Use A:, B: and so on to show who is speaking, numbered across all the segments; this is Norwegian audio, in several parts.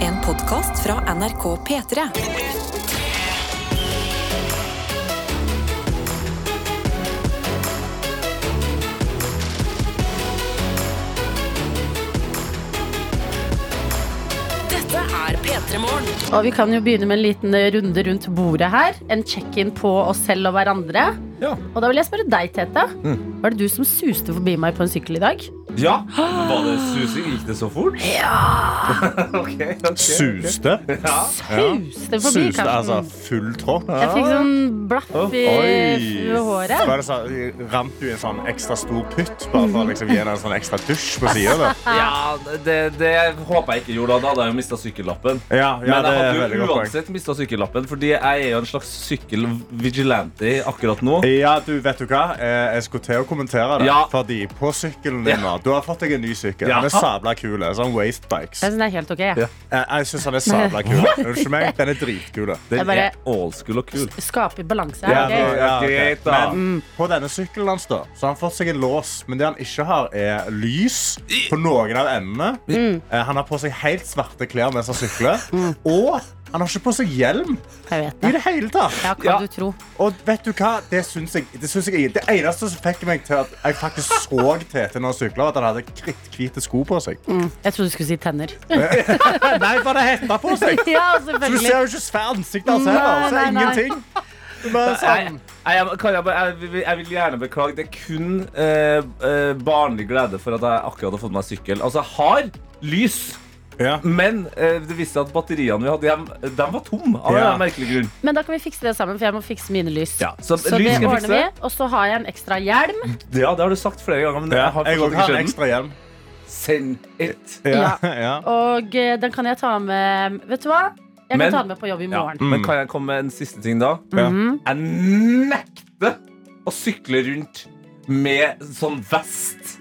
A: En podkast fra NRK P3. Dette er P3 Morgen.
B: Og vi kan jo begynne med en liten eh, runde rundt bordet her. En check-in på oss selv og hverandre.
C: Ja.
B: Og da vil jeg spørre deg, Tete. Var det du som suste forbi meg på en sykkel i dag?
C: Mm. Ja, Var det susing? Gikk det så fort? Ja! ok, ok
D: Suste.
C: ja.
B: Suste forbi,
D: Suste, altså full trå.
B: Jeg fikk sånn
C: Oh.
B: blaff i
D: Oi.
B: f- håret.
D: Så var det sånn, Ramte du en sånn ekstra stor putt bare for å liksom gi deg en sånn ekstra dusj på sida?
C: ja det, det håper jeg ikke gjorde. da. Da hadde jeg jo mista sykkellappen.
D: Ja, ja,
C: Men
D: det
C: jeg
D: er
C: hadde
D: eh, veldig
C: jo
D: godt poeng.
C: uansett mista sykkellappen, fordi jeg er jo en slags sykkel-vigilante akkurat nå.
D: Ja, du, vet du hva? Eh, Jeg skulle til å kommentere det.
C: Ja.
D: Fordi på sykkelen din nå Du har fått deg en ny sykkel.
C: Ja.
D: Den er sabla kul. Sånn wastebikes.
B: Jeg syns det er helt ok. jeg.
C: Ja.
D: Jeg, jeg syns den er sabla kul. Unnskyld meg, den er dritkul.
C: Den
B: Jeg bare-
C: er old school og kul.
B: Skaper balanse.
D: Ja,
B: her,
D: det-
B: ok?
D: ja, ok.
C: Greit, da.
D: Men på denne sykkelen hans da, så har han fått seg en lås, men det han ikke har, er lys på noen av endene. Eh, Han har på seg helt svarte klær mens han sykler. Og han har ikke på seg hjelm
B: Jeg vet
D: i
B: det.
D: det hele tatt.
B: Ja, hva
C: Ja.
B: du tro.
D: Og vet du hva? Det syns jeg, det syns jeg Det eneste som fikk meg til at jeg faktisk så Tete når han sykla, at han hadde kritthvite sko på seg.
B: Jeg trodde du skulle si tenner.
D: Nei, bare hetta på seg.
B: ja,
D: Så du
B: selvfølgelig.
D: ser jo ikke svært ansiktet hans heller.
B: Nei, nei,
D: Så
B: nei.
D: ingenting. Bare
C: Jeg,
D: sånn.
C: jeg, jeg, kan jeg, bare- jeg, vil- jeg vil gjerne beklage. Det er kun eh, eh, barnlig glede for at jeg akkurat har fått meg sykkel. Altså, jeg har lys,
D: Ja.
C: men eh, det viste seg at batteriene vi hadde hjem, de var tomme. Av en eller
D: Ja.
C: annen merkelig grunn.
B: Men da kan vi fikse det sammen, for jeg må fikse mine lys.
C: Ja, så
B: Så
C: lys
B: det
C: skal jeg
B: ordner vi.
C: fikse.
B: Og så har jeg en ekstra hjelm.
C: Ja, det har du sagt flere ganger, men
D: Ja,
C: jeg har
D: jeg òg
C: fortsatt
D: har
C: ikke
D: en
C: skjønt.
D: ekstra hjelm.
C: Send it.
B: Ja.
D: ja.
B: Og eh, den kan jeg ta med Vet du hva? Jeg kan
C: Men- Mm.
B: ta den med på jobb i morgen. Mm.
C: Men kan jeg komme med en siste ting, da?
D: Ja.
B: Mhm.
C: Jeg nekter å sykle rundt med sånn vest.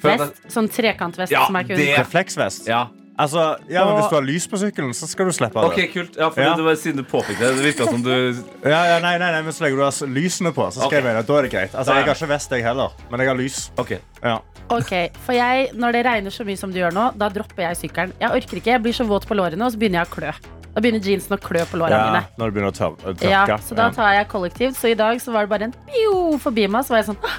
C: For at jeg-
B: Vest, sånn trekantvest
C: Ja,
B: som er kun
C: det-
D: Refleksvest?
C: Ja.
D: Altså, ja, men
B: Og-
D: hvis du har lys på sykkelen, så skal du slippe av
C: OK, kult. Ja, for
D: Ja.
C: Det var siden du påpekte det. Det virka som du
D: det. Ja, ja, nei, nei, nei, men så lenge du har s- lysene på, så skal
C: Ok.
D: jeg mene, da er det greit. Altså,
C: Da er
D: jeg har ikke vest, jeg heller, men jeg har lys.
C: OK.
D: Ja.
B: Ok, for jeg, Når det regner så mye som det gjør nå, da dropper jeg sykkelen. Jeg orker ikke, jeg blir så våt på lårene, og så begynner jeg å klø. Da begynner jeansen å klø på lårene
D: Ja,
B: mine.
D: når du begynner å tør å tørke.
B: Ja, så da
D: Ja.
B: tar jeg kollektivt. Så i dag så var det bare en pio forbi meg, så var jeg sånn «Åh,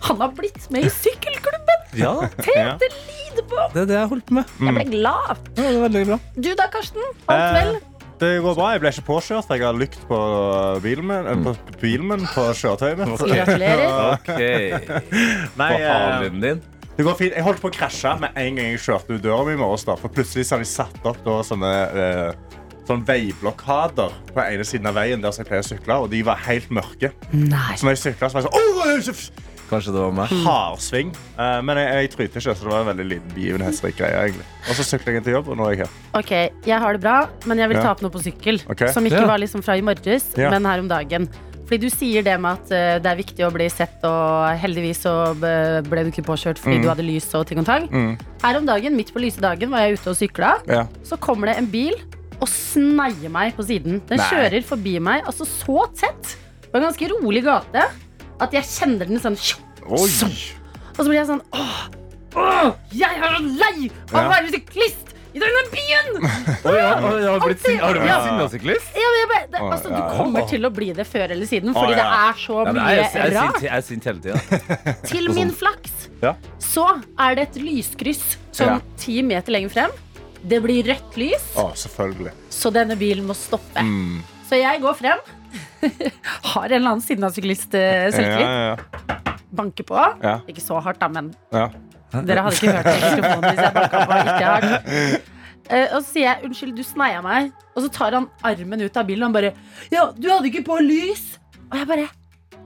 B: Han har blitt med i sykkelklubben!
C: Ja,
D: Ja.
B: Tete Lidebom!
C: det er det jeg holdt på med.
B: Jeg ble glad.
C: Ja, det er veldig bra.
B: Du da, Karsten? Alt vel?
D: Det går bra. Jeg ble ikke påkjørt. Jeg har lykt på bilen min, eh, på, bilen min, på kjøretøyet mitt.
B: Gratulerer.
C: OK.
D: Nei,
C: På
D: eh,
C: halen din.
D: det går fint. Jeg holdt på å krasje med en gang jeg kjørte ut døra mi i morges. da, For plutselig så hadde de satt opp da, sånne eh, sånn veiblokader på ene siden av veien der som jeg pleier å sykle, og de var helt mørke.
B: Nei.
D: Så når jeg sykla, var jeg sånn oh,
C: Kanskje det var meg.
D: Hardsving. Eh, men jeg, jeg tryte ikke, så det var en veldig liten begivenhetsrik greie. egentlig. Og så sykla jeg inn til jobb, og nå er jeg her.
B: Ok, jeg har det bra, men jeg vil
D: Ja.
B: ta opp noe på sykkel.
D: Ok.
B: Som ikke
C: Ja.
B: var liksom fra i morges,
D: Ja.
B: men her om dagen. Fordi du sier det med at eh, det er viktig å bli sett, og heldigvis så eh, ble du ikke påkjørt
D: Mm.
B: fordi du hadde lys og ting og tang. Her om dagen, midt på lyse dagen, var jeg ute og sykla. Så kommer det en bil og sneier meg på siden. Den
D: Nei.
B: kjører forbi meg, altså så tett, på en ganske rolig gate, at jeg kjenner den sånn tjo,
D: Oi.
B: og så blir jeg sånn Åh, åh jeg er så lei av å
D: Ja.
B: være syklist i denne byen!
C: Oi, ja, oi, jeg har, blitt sin- har du blitt
B: Ja.
C: sinnasyklist?
B: Ja, men jeg bare, det,
D: Åh,
B: altså, du
D: Ah, ja.
B: kommer til å bli det før eller siden, fordi
D: Åh, ja.
B: det er så
C: Ja, men
B: mye
C: jeg, er- jeg, er sint-
B: rart.
C: jeg er sint hele tida.
B: Til min flaks
D: sånn- Ja.
B: så er det et lyskryss sånn
D: Ja. Ah.
B: ti meter lenger frem. Det blir rødt lys,
D: Å, selvfølgelig.
B: så denne bilen må stoppe.
D: Mm.
B: Så jeg går frem. Har en eller annen sinnasyklist eh, selvtillit.
D: ja,
B: Banker på.
D: Ja.
B: Ikke så hardt, da, men
D: ja.
B: dere hadde ikke hørt det i mikrofonen hvis jeg banka på ikke hardt. Eh, og så sier jeg 'unnskyld, du sneia meg', og så tar han armen ut av bilen og han bare 'ja, du hadde ikke på lys'. Og jeg bare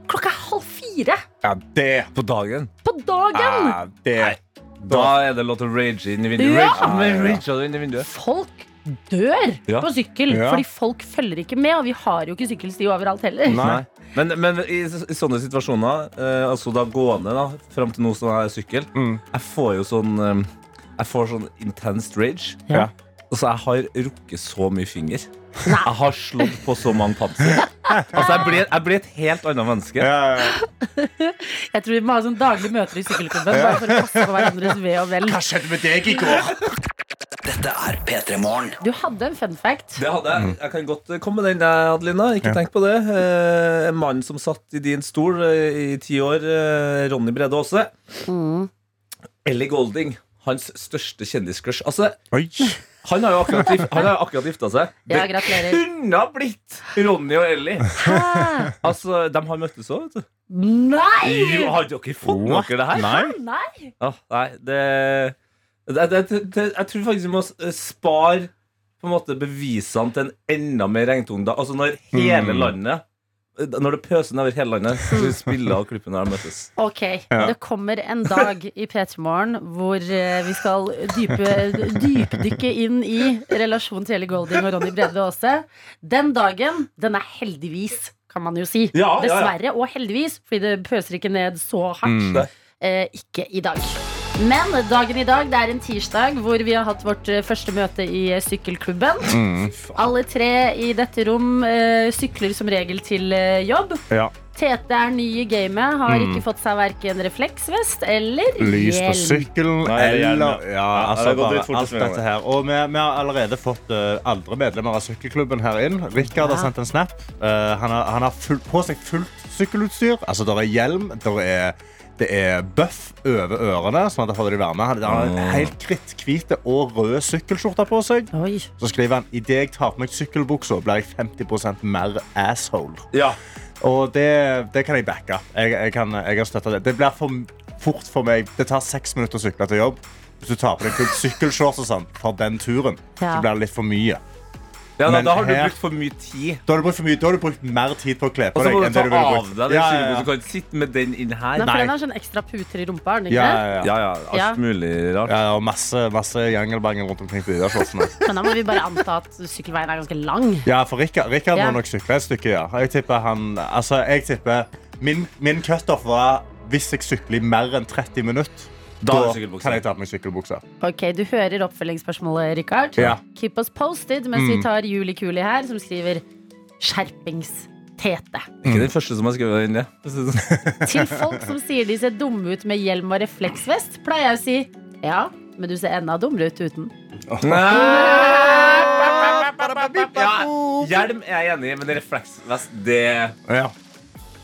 B: Klokka er halv fire
D: Ja, det
C: På dagen.
B: på dagen!
D: ja, Det
C: Da er det lov til å rage inn i vinduet.
B: Ja.
C: Rage, men rage du inn i vinduet.
B: Folk dør
C: Ja.
B: på sykkel,
D: Ja.
B: fordi folk følger ikke med, og vi har jo ikke sykkelsti overalt heller.
D: Nei.
C: Men, men i, s- i sånne situasjoner, eh, altså da gående da, fram til nå som jeg er sykkel, jeg får jo sånn eh, Jeg får sånn intense rage.
D: Ja.
C: Altså, jeg har rukket så mye finger. Jeg har slått på så mange panser. Altså, jeg blir, jeg blir et helt annet menneske.
D: Ja, ja, ja.
B: Jeg tror vi må ha sånn daglige møter i sykkelklubben, bare for å passe på hverandres ve og vel.
D: Hva skjedde med deg i går?
E: Dette er P3 Morgen.
B: Du hadde en fun fact.
C: Det hadde
D: Mm.
C: jeg. Jeg kan godt eh, komme med den, jeg, Adelina. Ikke tenk på det. Eh, en mann som satt i din stol eh, i ti år, eh, Ronny Brede Aase.
B: Mm.
C: Ellie Golding. Hans største kjendiscrush. Altså,
D: Oi.
C: han har jo akkurat, gif- han har jo akkurat gifta seg.
B: Ja,
C: Det
B: gratulerer. Ah.
C: kunne ha blitt Ronny og Ellie. Altså, De har møttes òg, vet du. Jo,
B: Nei!
C: har dere fått med
D: What?
C: dere det her?
D: Nei.
B: Nei!
C: Ja, nei, det, det, det, det, det Jeg tror faktisk vi må s- eh, spare på en måte bevisene til en enda mer regntung dag. Altså når
D: Mm.
C: hele landet eh, Når det pøser nedover hele landet, så skal vi spille av klippene der de møtes.
B: Ok,
D: Ja.
B: det kommer en dag i P3 Morgen hvor eh, vi skal dype, dypdykke inn i relasjonen til Ellie Golding og Ronny Brede Aase. Den dagen, den er heldigvis, kan man jo si.
C: Ja, ja, ja.
B: Dessverre, og heldigvis, fordi det pøser ikke ned så hardt. Eh, ikke i dag. Men dagen i dag, det er en tirsdag hvor vi har hatt vårt eh, første møte i eh, sykkelklubben. Alle tre i dette rom eh, sykler som regel til eh, jobb.
D: Ja.
B: Tete er ny i gamet, har ikke fått seg verken refleksvest eller
D: Mm. Lys på
B: hjelm.
D: sykkelen
C: Nei, det er hjelm, ja.
D: eller Ja,
C: det
D: altså
C: har gått
D: bare
C: litt fort,
D: alt
C: det mener
D: dette her. Og vi, vi har allerede fått eh, andre medlemmer av sykkelklubben her inn. Rikard har sendt en snap. Eh, han har, han har full, på seg fullt sykkelutstyr. Altså, der er hjelm, der er det er bøff over ørene, sånn at jeg holder de varme. Han han har en helt kritthvite og rød sykkelskjorte på seg.
B: Oi.
D: Så skriver han idet jeg tar på meg sykkelbuksa, blir jeg 50 mer asshole.
C: Ja.
D: Og det, det kan jeg backe. Jeg, jeg, kan, jeg har støttet det. Det blir for fort for meg. Det tar seks minutter å sykle til jobb. Hvis du tar på deg fullt sykkelshorts og sånn for den turen,
B: Ja.
D: så blir det litt for mye.
C: ja da,
D: Men
C: da har du
D: her-
C: brukt for mye tid.
D: Da har du brukt for mye. Da har du brukt mer tid på å kle
C: Og
D: på
C: så
D: deg.
C: må du
D: enn
C: ta
D: det du ville
C: av
D: brukt.
C: deg den
D: Ja, ja,
C: sykkelbuksa.
D: ja.
C: Du kan ikke sitte med den inn her.
B: Nei, for den har sånn ekstra puter i rumpa, har den ikke
D: Ja,
B: det?
C: Ja,
D: ja, ja.
C: ja. Alt
B: Ja.
C: mulig rart.
D: Ja, ja, og masse, masse jangelbangel rundt omkring på de der shortsene.
B: Men da må vi bare anta at sykkelveien er ganske lang.
D: Ja, for Rikard, Rikard
B: Ja.
D: må nok sykle et stykke, ja. Jeg tipper han Altså, jeg tipper Min, min cutoff var hvis jeg sykler i mer enn 30 minutter.
C: Da er det sykkelbukse.
D: kan jeg ta på meg sykkelbuksa.
B: Ok, Du hører oppfølgingsspørsmålet, Richard.
D: Ja. Mm.
B: Keep us posted mens vi tar Juli Kuli her, som skriver skjerpings. Tete.
C: Ikke den første som har skrevet den ned.
B: Til folk som sier de ser dumme ut med hjelm og refleksvest, pleier jeg å si ja, men du ser enda dummere ut uten.
C: Ja, hjelm er jeg enig i, men refleksvest, det er
D: Ja.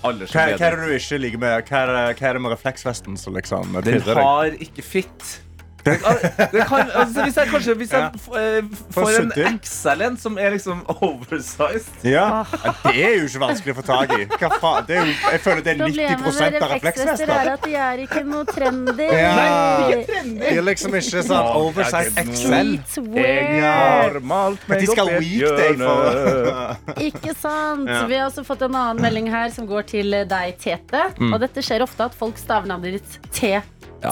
C: alle
D: Hva,
C: som
D: hva er
C: bedre.
D: det du ikke liker med Hva er det, hva er det med refleksvesten som liksom
C: Den
D: pirrer deg?
C: har ikke fitt. Den, al- den kan, altså hvis jeg kanskje Hvis jeg
D: Ja.
C: f- eh, får
D: Får
C: en
D: sudd inn.
C: XL-en som er liksom oversized
D: Ja. ja, Det er jo ikke vanskelig å få tak i. Hva faen? Det er jo, jeg føler det er 90 av refleksvester.
B: at de er ikke noe trendy.
D: Ja. De er liksom ikke sånn oversized XL.
B: Streetwear.
C: malt
D: Men de skal weekday for
B: Ikke sant?
D: Ja.
B: Vi har også fått en annen melding her som går til deg, Tete. Og dette skjer ofte at folk staver navnet ditt T.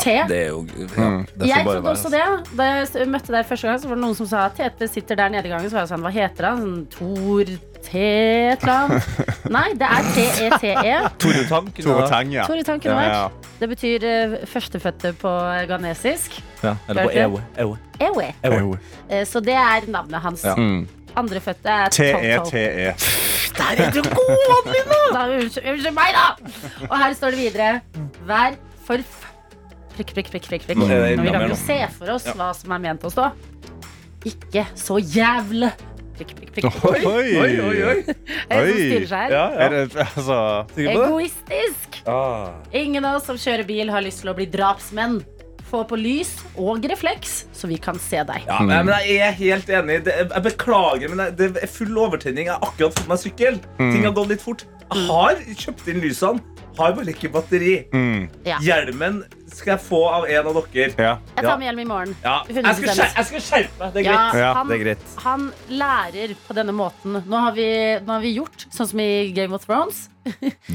B: T.
C: Det er jo Mm. ja, det
B: Jeg
C: får bare altså.
B: trodde også
C: være.
B: det. Da jeg s- møtte deg første gang, så var det noen som sa Tete sitter der nede i gangen. Så var jeg sånn, hva heter han? Sånn, Tor Tetland? Nei, det er E T-E-T-E.
C: Tore Tang kunne
D: Tore
C: da-
D: Tang, ja.
B: Tore Tanken
D: Ja, ja.
B: vært. Det betyr eh, førstefødte på ghanesisk.
C: Ja, eller på
B: Hørte.
C: Ewe. Ewe.
B: Ewe.
C: Ewe.
B: Eh, Så det er navnet hans.
C: Ja.
B: Andrefødte er
D: E
B: Toto.
D: TETE.
B: Der er du god, Adelina! Da, unnskyld, unnskyld meg, da! Og her står det videre. Vær for f... Prikk, prikk, prikk, prikk. prikk.
C: Nå er det
B: Men vi
C: enda
B: kan
C: mer
B: jo
C: nå.
B: se for oss hva som er ment å stå. Ikke så jævlig Prikk, prikk, prikk.
D: Oi,
C: Oi, oi, oi.
B: Det er en som
D: oi.
B: styrer seg her.
C: Ja,
D: Er
C: ja.
D: det, altså,
C: Sikker på det?
B: Egoistisk!
C: Ah.
B: Ingen av oss som kjører bil, har lyst til å bli drapsmenn. Få på lys og refleks, så vi kan se deg.
C: Ja, nei, men jeg er helt enig. Det, jeg beklager, men det, det er full overtenning. Jeg har akkurat fått meg sykkel. Ting har gått litt fort.
B: Mm.
C: Jeg har kjøpt inn lysene. Har bare ikke batteri. Mm.
B: Ja.
C: Hjelmen skal jeg få av en av dere.
D: ja.
B: Jeg tar med hjelm i morgen.
C: Ja. Jeg, skal
B: 100%.
C: skjer, jeg skal skjerpe meg. Det er greit.
D: Ja,
B: han,
C: det er greit.
B: han lærer på denne måten. Nå har, vi, nå har vi gjort sånn som i Game of Thrones.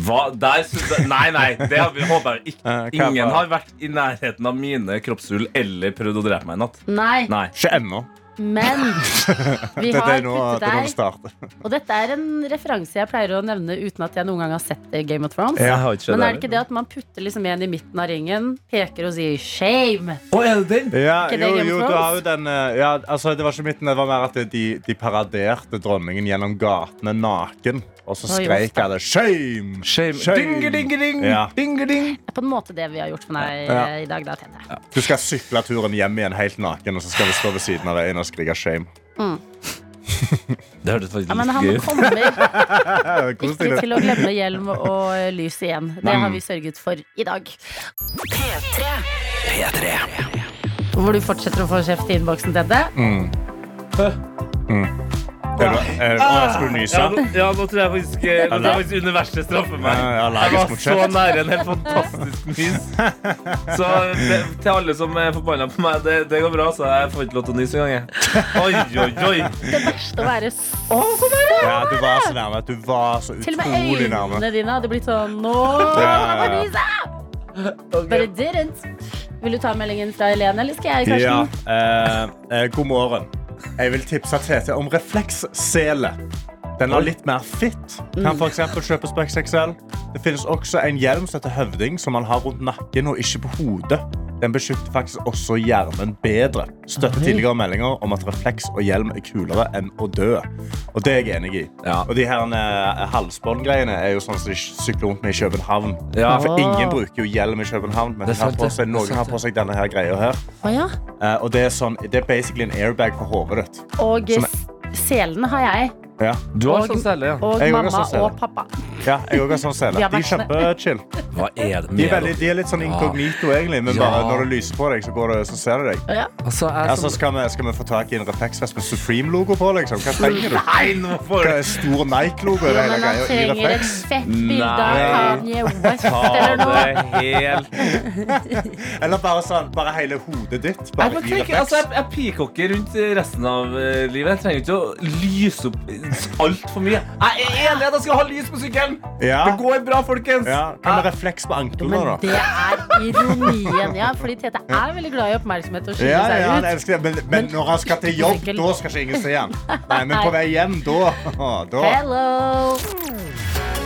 C: Hva? Der, synes jeg- nei, nei. Det har vi, håper jeg ikke.
D: Eh, hva er det?
C: Ingen har vært i nærheten av mine kroppshull eller prøvd å drepe meg i natt.
B: Nei,
C: Nei.
D: Ikke ennå.
B: Men vi
D: Dette
B: har
D: er
B: puttet
D: nå det er nå det
B: deg
D: starter.
B: Og dette er en referanse jeg pleier å nevne uten at jeg noen gang har sett eh, Game of Thrones.
C: Jeg har ikke sett
B: Men er det ikke det at man putter liksom en i midten av ringen, peker og sier 'shame'?
C: Å, er det den?
D: Ja,
B: Ikke det
D: jo,
B: Game of
D: jo, du
B: Thrones?
D: har jo den eh, ja, altså, Det var ikke midten, det var mer at de, de paraderte dronningen gjennom gatene naken. Og så
B: Oi,
D: skreik jeg det. Shame!
C: Shame. Dingelingeling!
D: Ja.
C: Dingeling!
B: Det er på en måte det vi har gjort for deg
D: Ja.
B: eh, i dag, da, Tete.
D: Du skal sykle turen hjem igjen helt naken, og så skal du stå ved siden av deg og skrike shame.
C: Det hørtes faktisk
B: Ja, men
C: litt
B: han
C: gøy ut.
B: kommer
D: Ja, det er koselig,
B: ikke
D: det.
B: til å glemme hjelm og eh, lys igjen. Det
D: Mm.
B: har vi sørget for i dag. Hvor du fortsetter å få kjeft i innboksen, Tete.
D: Mm. Er du- er du- Å,
B: Ah!
D: jeg skulle nyse.
C: Ja, nå, ja, nå tror jeg faktisk, eh, nå tror jeg faktisk universet straffer meg.
D: Ja, ja,
C: Jeg
D: allergisk
C: var
D: mot
C: så
D: kjøtt.
C: nære en helt fantastisk nys. Så det, til alle som er forbanna på meg, det, det går bra, så jeg får ikke lov til å nyse engang. jeg. Oi, oi, oi.
B: Det verste å være så
D: Ja, du var så nærme. Du var så
B: Til og med
D: utrolig nærme.
B: øynene dine hadde blitt sånn Nå!
D: Ja, ja, ja.
B: But it didn't. Vil du ta meldingen fra Helene, eller skal jeg,
D: Ja,
B: Karsten?
D: eh, eh, god morgen. Jeg vil tipse Tete om reflekssele. Den har litt mer fitt.
C: Mm.
D: Kan for eksempel kjøpes på XXL. Det finnes også en hjelm som heter høvding, som man har rundt nakken og ikke på hodet. Den beskytter faktisk også hjernen bedre. Støtter tidligere meldinger om at refleks og hjelm er kulere enn å dø. Og det er jeg enig i.
C: Ja.
D: Og de her eh, halsbåndgreiene er jo sånn som de sykler rundt med i København.
C: Ja.
D: For ingen bruker jo hjelm i København, men
C: Det er
D: de har
C: sant,
D: på
C: det.
D: seg,
C: Det er
D: noen
C: sant,
D: har
C: det.
D: på seg denne her greia her.
B: Å ja.
D: Eh, og det er, sånn, det er basically en airbag for hodet ditt.
B: Og
D: Som Sånn er-
B: s- selene har jeg.
D: Ja.
C: Du
B: har sånn
C: sele, ja.
B: Og
D: Jeg har også sånn
B: mamma
D: sele.
B: og pappa.
D: ja, jeg òg har sånn sele.
B: De har
D: De er
B: vært-
D: kjempechill.
C: Hva er det
D: De,
C: med
D: er veldig-
C: dere?
D: de er litt sånn inkognito, egentlig, men
C: Ja.
D: bare når det lyser på deg, så, går det, så ser det deg.
B: Ja.
C: Altså, jeg
D: Ja,
C: som-
D: så skal, vi, skal vi få tak i en refleksvest med Supreme-logo på? liksom? Hva trenger du?
C: Nei, nå får
D: Hva
C: du
D: er stor Nike-logo i
B: Jo,
D: det hele
B: men han
D: greia? I
B: trenger et
D: refleks?
B: fett bilde av
D: Nei.
B: Kanye West
C: ta
B: eller noe.
C: det helt
D: Eller bare, sånn, bare hele hodet ditt?
C: Jeg,
D: Bare
C: bare
D: i
C: tenker, altså, jeg,
D: refleks?
C: jeg peacocker rundt resten av eh, livet. Jeg trenger ikke å lyse opp altfor mye. Jeg er enig i at jeg skal ha lys på sykkelen!
D: Ja.
C: Det går bra, folkens!
D: Ja, Hva med
C: Jeg-
D: refleks på
B: Jo, Ah. men
D: anklene, da?
B: det er ironien, ja. Fordi Tete er veldig glad i oppmerksomhet og
D: Ja,
B: skiller
D: ja, han
B: seg ut.
D: elsker det. Men, men når han skal til jobb,
B: Sykkel.
D: da skal ikke ingen se han. Nei, men på vei hjem, da. da.
B: Hello!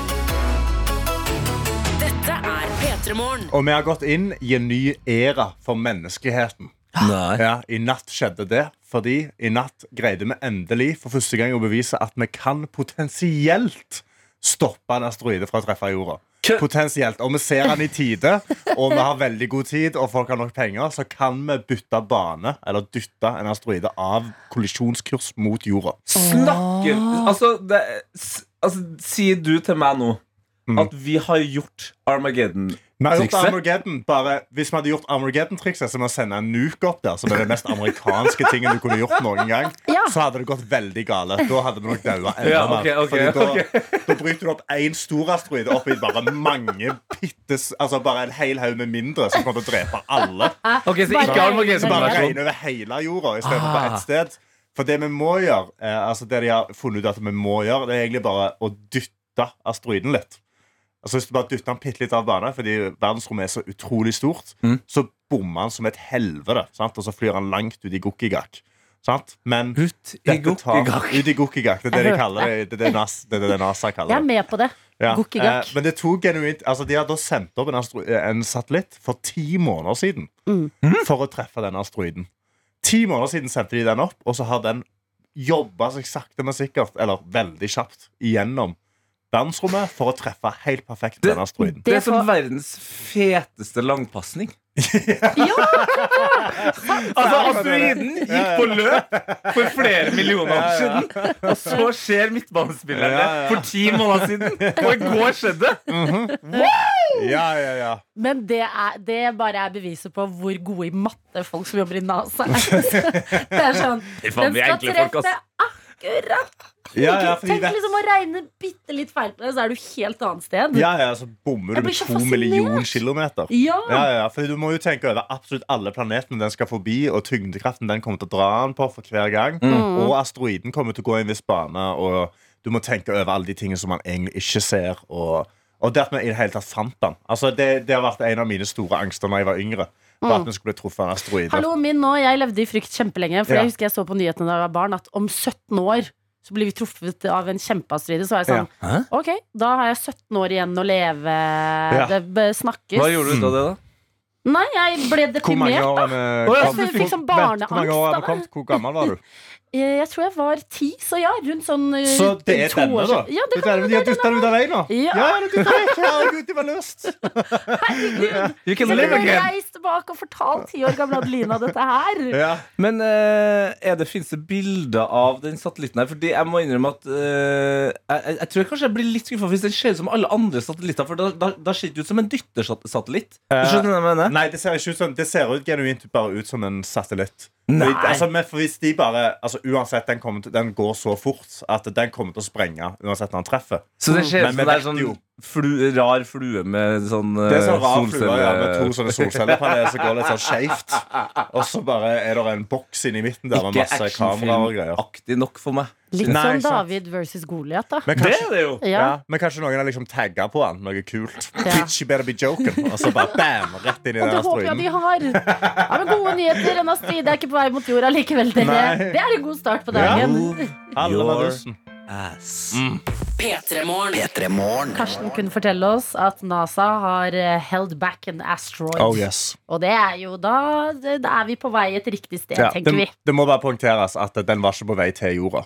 A: Dette er P3morgen.
D: Og vi har gått inn i en ny æra for menneskeheten.
C: Nei.
D: Ja, I natt skjedde det, fordi i natt greide vi endelig for første gang å bevise at vi kan potensielt stoppe en asteroide fra å treffe jorda.
C: Kø-
D: Potensielt. Og vi ser den i tide, og vi har veldig god tid, og folk har nok penger, så kan vi bytte bane eller dytte en asteroide av kollisjonskurs mot jorda.
C: Snakker Altså, det, s- altså sier du til meg nå
D: Mm.
C: at vi har gjort
D: Vi har gjort
C: Armageddon-trikset?
D: Armageddon, bare Hvis vi hadde gjort Armageddon-trikset, som å sende en nuke opp der, som er den mest amerikanske tingen du kunne gjort noen gang,
B: Ja.
D: så hadde det gått veldig gale. Da hadde vi nok daua enda
C: Ja,
D: mer.
C: ok, ok,
D: Fordi da, da bryter du opp én stor asteroide opp i bare mange bittes Altså bare en hel haug med mindre som kommer til å drepe alle.
C: Ok, så
B: Ah, Bare-
C: ikke
D: Så bare
C: Armageddon.
D: regner over hele jorda istedenfor
C: Ah.
D: på ett sted. For det vi må gjøre, eh, altså det de har funnet ut at vi må gjøre, det er egentlig bare å dytte asteroiden litt. Altså Hvis du bare dytter den bitte litt av bane, fordi verdensrommet er så utrolig stort,
C: Mm.
D: så bommer han som et helvete, sant? og så flyr han langt ut i Gokkigak. Sant? Men
C: Ut i
D: dette tar-
C: gokkigak.
D: Ut i Gokkigak. Det er det de kaller det. Det er det NAS, det, er det NASA
B: Jeg
D: kaller
B: er
D: det.
B: med på det.
D: Ja.
B: Gokkigak.
D: Eh, men det tok genuint altså De har da sendt opp en, astro eh, en satellitt for ti måneder siden
B: Mm.
D: for å treffe den asteroiden. Ti måneder siden sendte de den opp, og så har den jobba seg sakte, men sikkert, eller veldig kjapt, gjennom verdensrommet for å treffe helt perfekt
C: Det-
D: den asteroiden.
C: Det er
B: får-
C: som verdens feteste langpasning.
B: Ja,
C: Altså, asteroiden gikk på løp for flere millioner år
D: Ja, ja.
C: siden. Og så skjer midtbanespilleren det
D: Ja, ja.
C: for ti måneder siden. Og i går skjedde det.
D: Ja, ja, ja.
B: men det, er, det bare er beviset på hvor gode i matte folk som jobber i NASA er. Det er sånn
C: faen,
B: Den
C: vi
B: skal
C: er enkle folk,
B: treffe akkurat.
D: ja, ja fordi
B: Tenk
D: vet-
B: liksom å regne bitte litt feil på det, så er du helt annet sted.
D: Ja, ja, så bommer du
B: Jeg
D: med
B: blir så
D: to
B: fascinert.
D: millioner kilometer.
B: Ja.
D: Ja, ja, ja, for du må jo tenke over absolutt alle planetene den skal forbi, og tyngdekraften den kommer til å dra den på for hver gang.
B: Mm.
D: Og asteroiden kommer til å gå i en viss bane, og du må tenke over alle de tingene som man egentlig ikke ser. Og, og det at vi i det hele tatt fant den. Altså, det, det har vært en av mine store angster når jeg var yngre. var at vi skulle bli truffet av en asteroide.
B: Mm. Hallo, min nå, jeg levde i frykt kjempelenge. For
D: Ja.
B: jeg husker jeg så på nyhetene da jeg var barn at om 17 år så blir vi truffet av en kjempeasteroide. Så var jeg sånn
C: Hæ?
B: Ok, da har jeg 17 år igjen å leve. Det b- snakkes.
C: Hva gjorde du ut av det, da?
B: Nei, jeg ble
D: Hvor mange
B: deprimert.
D: år han eh,
C: Å, ja,
D: kom?
C: så du fikk
D: Hvor-
B: sånn
D: vent, Hvor mange år
B: barneangst
D: han
B: av
D: kom? Hvor gammel var du?
B: Eh, Jeg tror jeg var ti, så ja, rundt sånn eh,
D: Så det er
B: to år
D: denne, da?
B: siden. Ja, det
D: er
B: kan
D: denne,
B: jo
D: de
B: være
D: har dyttet den ut av veien nå?
B: Ja.
D: det er denne. Herregud, de var løst.
C: You can
B: Så
C: live
B: kunne jeg
C: again.
B: reist tilbake og fortalt ti år gamle Adelina dette her.
D: Ja.
C: Men eh, er det, finnes det bilder av den satellitten her? Fordi jeg må innrømme at eh, jeg, jeg- jeg tror kanskje jeg blir litt skuffa hvis den ser ut som alle andre satellitter. For da, da, da ser det ut som en dyttersatellitt.
D: Eh,
C: Du skjønner hva jeg mener?
D: Nei, det ser ikke ut sånn Det ser ut genuint bare ut som en satellitt.
C: Nei.
D: Fordi- Altså, men for hvis de bare Altså Uansett, den, kommer til, den går så fort at den kommer til å sprenge uansett når den treffer.
C: Så det ser ut
D: Men
C: som
D: vi
C: det er
D: vet
C: sånn
D: jo.
C: flu, rar flue med sånn eh, uh,
D: Det er sånn rar flue ja, med to sånne solcellepaneler som går litt sånn skeivt. Og så bare er det en boks inni midten der med
C: Ikke
D: masse kameraer og greier.
C: actionfilmaktig nok for meg.
B: Litt
D: Nei,
B: sånn
D: sant.
B: David versus Goliat, da.
D: Men kanskje,
C: det jo!
D: ja.
B: Ja.
D: men kanskje noen har liksom tagga på han noe kult.
B: Ja.
D: Bitch, you better be joking. Og så bare bam, rett inn i
B: Og
D: den
B: det håper jeg
D: asteroiden.
B: de har. Ja, men Gode nyheter. En asteroide er ikke på vei mot jorda likevel, dere.
D: Nei.
B: Det er en god start på dagen.
D: Alle var
C: Your
D: tusen.
C: ass.
A: P3morgen.
B: Karsten kunne fortelle oss at NASA har eh, held back an asteroid.
D: Oh yes.
B: Og det er jo da det- Da er vi på vei et riktig sted,
D: Ja,
B: tenker vi.
D: det, det må bare poengteres at den var ikke på vei til jorda.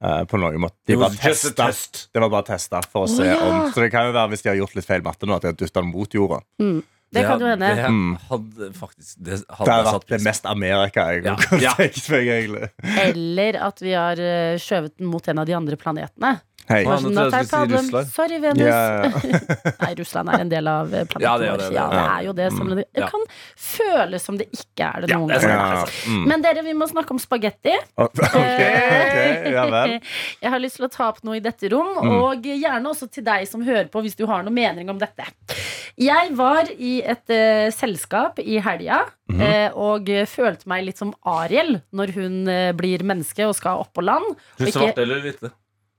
D: eh, på noen måte. De
C: It
D: bare
C: was just a
D: testa.
C: test.
D: Det var bare testa for å se
B: ja.
D: om Så det kan jo være hvis de har gjort litt feil matte nå, at de har dytta den mot jorda.
B: Det kan jo hende.
C: Det
D: Mm.
C: hadde faktisk Det
D: Det
C: hadde
D: har
C: jeg
D: vært
C: satt
D: det
C: pris på.
D: mest Amerika jeg
C: Ja.
D: kunne
C: Ja.
D: tenkt meg, egentlig.
B: Eller at vi har eh, skjøvet den mot en av de andre planetene.
D: Hei.
C: Ja,
B: Bare
C: nå
B: sånn,
C: trodde jeg
B: "That's
C: skulle si
B: our problem.
C: Russland.
B: Sorry, Venus.
D: Ja.
B: Nei, Russland er en del av eh, planeten
C: Ja,
B: ja,
C: det er det, det er
B: vår.
C: det. Mm.
B: Ja, det er jo det. Som det, det
C: Ja.
B: kan føles som det ikke er det noen
C: det er
B: ganger.
D: Ja. Mm.
B: Men dere, vi må snakke om spagetti.
D: OK, ok, ja vel.
B: Jeg har lyst til å ta opp noe i dette rom,
C: Mm.
B: og gjerne også til deg som hører på, hvis du har noen mening om dette. Jeg var i et eh, selskap i helga
C: Mhm.
B: eh, og eh, følte meg litt som Ariel når hun eh, blir menneske og skal opp på land. Og
C: Hun
B: ikke-
C: svarte eller hvite?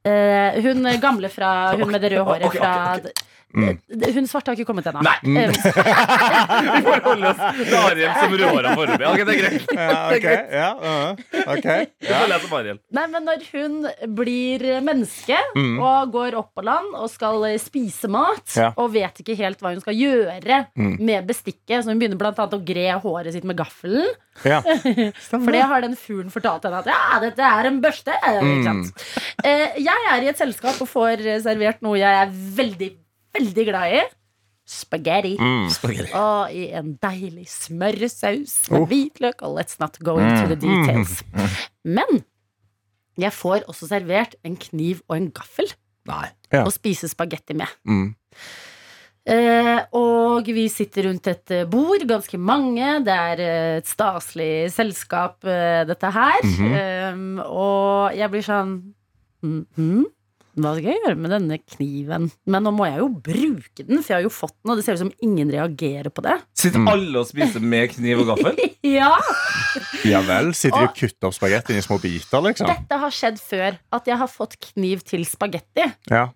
B: Eh, hun gamle fra Hun med det røde håret
C: Ok, ok,
B: fra
C: ok.
B: D- Hun svarte har ikke kommet ennå.
C: Nei.
B: Eh,
C: Vi får holde oss til Ariel som råra foreløpig. Ok, det er greit.
D: Ja, OK. Ja, uh, ok.
C: Da føler jeg som Ariel.
B: Nei, men når hun blir menneske og går opp på land og skal eh, spise mat
D: Mm. Ja. Mm.
B: og vet ikke helt hva hun skal gjøre med bestikket, så hun begynner blant annet å gre håret sitt med gaffelen.
D: Ja.
B: For det har den fuglen fortalt henne at ja, dette er en børste.
D: Mm.
B: Ikke sant? Eh, jeg er i et selskap og får eh, servert noe jeg er veldig, veldig glad i. Spagetti.
D: Mm.
B: Og i en deilig smørsaus
D: Oh.
B: med hvitløk. Og let's not go into
D: Mm.
B: the details. Men jeg får også servert en kniv og en gaffel
C: Nei.
D: Ja.
B: å spise spagetti med.
D: Mm.
B: Eh, og vi sitter rundt et eh, bord, ganske mange. Det er eh, et staselig selskap, eh, dette her.
D: Mhm.
B: Eh, og jeg blir sånn «Mhm, Hva skal jeg gjøre med denne kniven? Men nå må jeg jo bruke den, for jeg har jo fått den, og det ser ut som ingen reagerer på det.
C: Sitter
D: Mm.
C: alle og spiser med kniv og gaffel?
B: Ja,
D: Ja vel. Sitter de og kutter opp spagettien i små biter, liksom?
B: dette har skjedd før. At jeg har fått kniv til spagetti.
D: Ja.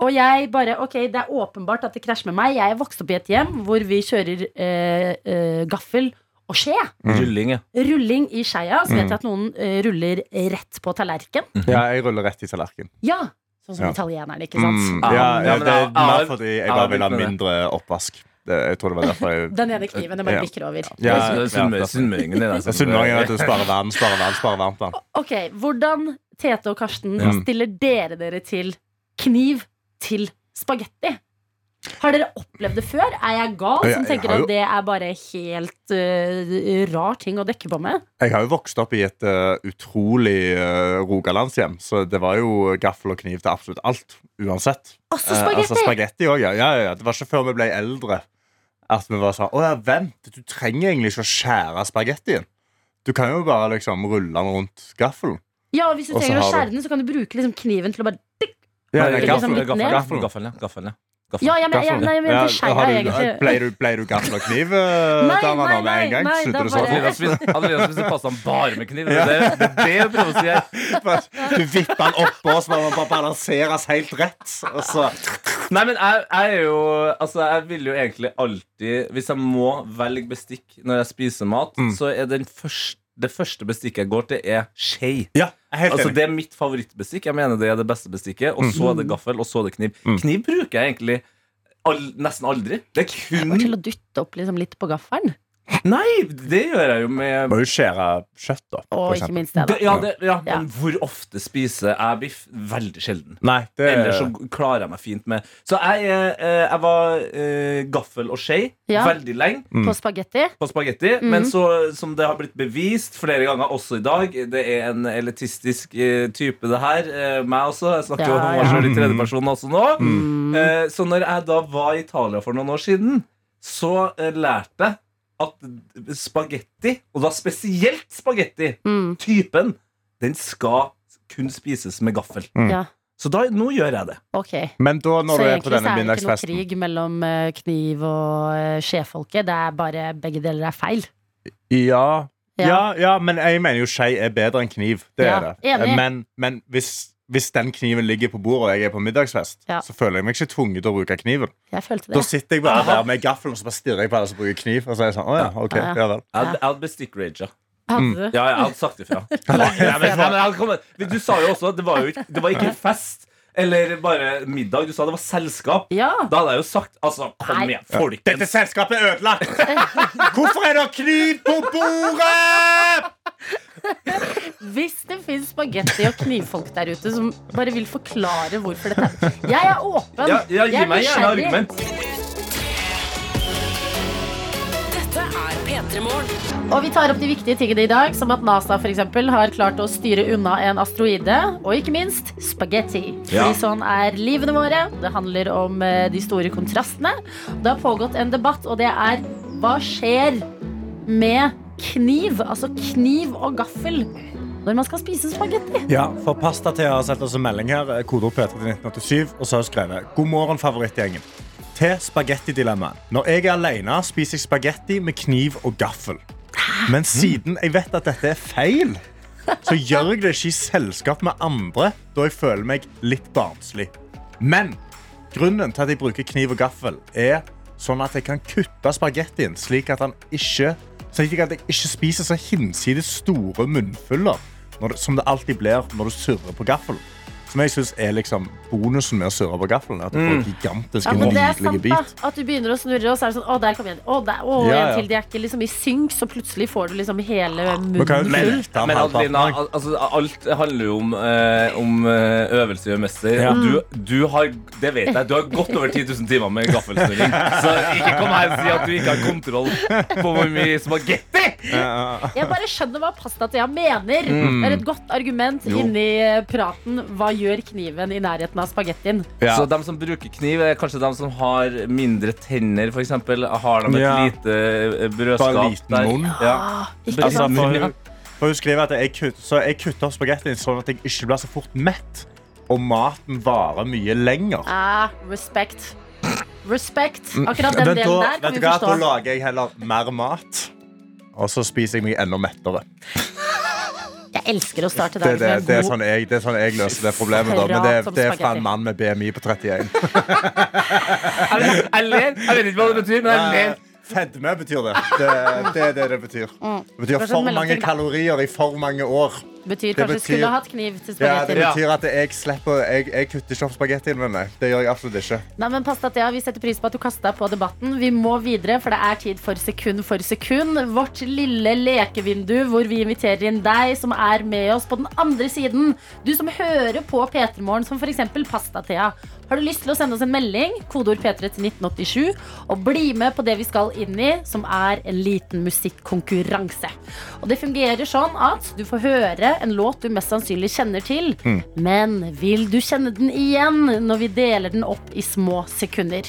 B: Og jeg bare, ok, Det er åpenbart at det krasjer med meg. Jeg er vokst opp i et hjem hvor vi kjører eh, eh, gaffel og skje.
D: Mm.
C: Rulling, ja.
B: Rulling i skeia, så vet jeg at noen eh, ruller rett på tallerken.
D: ja, jeg ruller rett i tallerken.
B: Ja, Sånn som
D: Ja.
B: italienerne, ikke sant? Ah.
D: Mm.
C: Ja,
D: Ja, ja,
C: men
D: det er
C: jeg-
D: mer
C: jeg-
D: fordi jeg
C: jeg
D: bare
C: har
D: vil ha
C: begynt med det.
D: mindre oppvask. Det- Jeg tror det var derfor jeg
B: Den ene kniven den
D: Ja.
B: bare bikker over.
D: Ja,
C: Det er sunnmø-
D: ja.
C: Sunnmøringen er det som-
D: Jeg synes noen er at du sparer vann, sparer vann, sparer varmt vann.
B: Ok, Hvordan, Tete og Karsten,
D: Mm.
B: stiller dere dere til kniv til spagetti? Har dere opplevd det før? Er jeg gal
D: Jeg-
B: som
D: jeg
B: tenker
D: har jo-
B: at det er bare helt eh, rar ting å dekke på med?
D: Jeg har jo vokst opp i et eh, utrolig eh, rogalandshjem, så det var jo gaffel og kniv til absolutt alt. Uansett.
B: Altså
D: Eh,
B: spagetti!
D: altså spagetti også, ja. Ja, ja, ja. Det var ikke før vi ble eldre at vi var sånn Å ja, vent, du trenger egentlig ikke å skjære spagettien. Du kan jo bare liksom rulle den rundt gaffelen.
B: ja, og Hvis du
D: Og så
B: trenger å
D: har du-
B: skjære den, så kan du bruke liksom kniven til å bare
D: Ja,
C: Nei,
D: det er
B: liksom
C: gaffel,
D: gaffel.
B: litt
C: gaffel,
B: ned.
C: gaffel, gaffel, ja. Gaffel, ja. Gaffel.
B: Ja, jeg mener, jeg,
C: Gaffel.
B: nei, jeg mener
D: Ja,
B: til skeia,
D: har du-
B: egentlig.
D: Ble du, ble du gaffel og kniv,
B: Nei,
D: dama, nå
B: nei,
D: eh, med
B: nei,
D: en gang?
B: nei,
D: Snudde
B: da
D: du
B: bare-
D: sånn?
C: Adelina spiser- Adelina spiser pastaen bare med kniv. Det er det- det er det jeg prøver å si her.
D: Bare- Du vipper den oppå, så må man bare balanseres helt rett. Og så
C: Nei, men jeg, jeg er jo Altså, jeg vil jo egentlig alltid Hvis jeg må velge bestikk når jeg spiser mat,
D: Mm.
C: så er den først- det første bestikket jeg går til, er skje.
D: Ja, jeg er helt
C: Altså,
D: enig. Mm.
C: det er mitt favorittbestikk. Jeg mener det er det beste bestikket. Og så er det gaffel, og så er det kniv. Kniv bruker jeg egentlig all, nesten aldri. Det er
B: Går til
C: kun
B: å dytte opp liksom, litt på gaffelen.
C: Nei, det gjør jeg jo med
D: Må jo skjære kjøtt, da. for
B: Og ikke
D: eksempel.
B: minst det,
C: det,
B: da.
C: ja, det, ja,
B: Ja.
C: men hvor ofte spiser jeg biff? Veldig sjelden.
D: Nei, det
C: Ellers så klarer jeg meg fint med Så jeg, eh, eh, jeg var eh, gaffel og skje
B: Ja. Mhm.
C: veldig lenge.
B: På spagetti.
C: på spagetti. Men så, som det har blitt bevist flere ganger også i dag, det er en elitistisk eh, type, det her. Eh, meg også. Jeg snakker jo
B: Ja, Mhm.
C: om meg
B: ja.
C: selv i tredjeperson også nå.
D: Mm.
B: Mm.
C: Eh, så når jeg da var i Italia for noen år siden, så eh, lærte jeg at spagetti, og da spesielt spagetti,
B: Mm.
C: typen, den skal kun spises med gaffel.
D: Mm.
B: Ja,
C: Så da, nå gjør jeg det.
B: ok
D: Men da,
B: Så
D: når du er på
B: egentlig så
D: denne
B: er det ikke noe
D: middagsfesten
B: krig mellom eh, kniv og eh, skjefolket. Det er bare begge deler er feil.
D: ja.
B: Ja.
D: Ja, ja, men jeg mener jo skje er bedre enn kniv. Det
B: Ja,
D: er det. Eh,
B: enig.
D: Men, men hvis, hvis den kniven ligger på bordet, og jeg er på middagsfest,
B: Ja.
D: så føler jeg meg ikke tvunget til å bruke kniven.
B: Jeg følte
D: Da
B: det.
D: sitter jeg bare der med gaffelen og så bare stirrer jeg på alle som bruker kniv. Og så er jeg sånn, å ja, ok,
B: Ja, ja.
D: ja vel.
C: Jeg hadde- jeg hadde bestikk-raga.
B: Hadde du?
C: mm, Ja, jeg hadde sagt ifra. Nei, men, nei, men jeg hadde kommet- Men du sa jo også at det var jo ikke, det var ikke en fest eller bare middag. Du sa det var selskap.
B: Ja!
C: Da hadde jeg jo sagt Altså, kom
B: Nei.
C: igjen, folkens.
D: selskapet er ødelagt! Hvorfor er det kniv på bordet?!
B: Hvis det fins spagetti og knivfolk der ute som bare vil forklare hvorfor dette er Jeg er åpen!
C: Ja, ja,
B: Jeg
C: gi
B: er
C: meg gjerne
B: nysgjerrig.
C: argument.
A: Dette er P3 Morgen.
B: Og vi tar opp de viktige tingene i dag, som at NASA for eksempel, har klart å styre unna en asteroide. Og ikke minst spagetti.
C: Ja.
B: Fordi sånn er livene våre. Det handler om eh, de store kontrastene. Det har pågått en debatt, og det er hva skjer med kniv, altså kniv og gaffel, når man skal spise spagetti?
D: Ja, for Pastathea har sendt oss en melding her, eh, kodeord P3 til 1987, og så har hun skrevet God morgen, favorittgjengen. Til spagettidilemmaet. Når jeg er alene, spiser jeg spagetti med kniv og gaffel. Men siden jeg vet at dette er feil, så gjør jeg det ikke i selskap med andre, da jeg føler meg litt barnslig. Men grunnen til at jeg bruker kniv og gaffel, er sånn at jeg kan kutte spagettien slik at, han ikke, slik at jeg ikke spiser så hinsides store munnfuller når det, som det alltid blir når du surrer på gaffelen. Som jeg synes er liksom bonusen med å surre på gaffelen. At du får en gigantisk,
B: Ja, men det er
D: nydelig
B: sant da,
D: bit.
B: At du begynner å snurre, og så er det sånn Å, der kom igjen. Å, der, å
D: Ja, ja.
B: en til. De er ikke liksom i synk, så plutselig får du liksom hele
D: Man kan
B: munnen
D: jo
B: full.
D: melte den
C: Men
D: halvparten.
C: Adelina, al- altså, alt handler jo om, eh, om eh, øvelse gjør mester.
D: Ja.
C: Og du, du har det vet jeg, du har godt over 10 000 timer med gaffelsnurring. Så ikke kom her og si at du ikke har kontroll på hvor mye spagetti!
B: Jeg bare skjønner hva pastatea mener.
D: Mm.
B: Det er et godt argument inni eh, praten. Hva gjør kniven i nærheten av spagettien?
D: Ja.
C: Så de som bruker kniv, er kanskje de som har mindre tenner, f.eks. Har de et
D: Ja.
C: lite eh, brødskap
D: Bare en liten
C: der?
D: munn.
C: Ja.
B: Ikke
D: Altså,
B: sant?
D: for, for hun skriver at jeg, kutt, så jeg kutter opp spagettien sånn at jeg ikke blir så fort mett. Og maten varer mye lenger.
B: Ah, respect. Respect. Akkurat den
D: Mm. Men
B: delen der
D: da,
B: kan
D: vet du
B: vi
D: hva, da
B: forstå.
D: lager jeg heller mer mat. Og så spiser jeg meg enda mettere.
B: Jeg elsker å starte
D: Det, er
B: dagen
D: det,
B: med
D: det, er,
B: en god
D: sånn jeg, det er sånn jeg løser det problemet. Da. Men det,
B: Prat om
D: det er fra
B: spagetti.
D: en mann med BMI på 31.
C: Jeg vet- jeg ler. Jeg vet ikke hva det betyr, men jeg ler.
D: Eh, Fedme betyr det. Det, det er det det betyr. Det
B: Kanskje
D: betyr for mange
B: sånn mellomting, da.
D: kalorier i for mange år.
B: Betyr
D: sånn- det
B: kanskje
D: betyr-
B: skulle hatt kniv til
D: Ja, det
B: spagettien.
D: betyr at jeg slipper Jeg, jeg kutter ikke opp spagettien min. nei. Det gjør jeg absolutt ikke.
B: Nei, men pastatea, Vi setter pris på at du kasta deg på debatten. Vi må videre, for det er tid for Sekund for sekund. Vårt lille lekevindu hvor vi inviterer inn deg som er med oss på den andre siden. Du som hører på P3morgen, som f.eks. Pastatea. Har du lyst til å sende oss en melding, kodeord P3 til 1987, og bli med på det vi skal inn i, som er en liten musikkonkurranse. Og det fungerer sånn at du får høre en låt du mest sannsynlig kjenner til,
D: Hmm.
B: men vil du kjenne den igjen når vi deler den opp i små sekunder?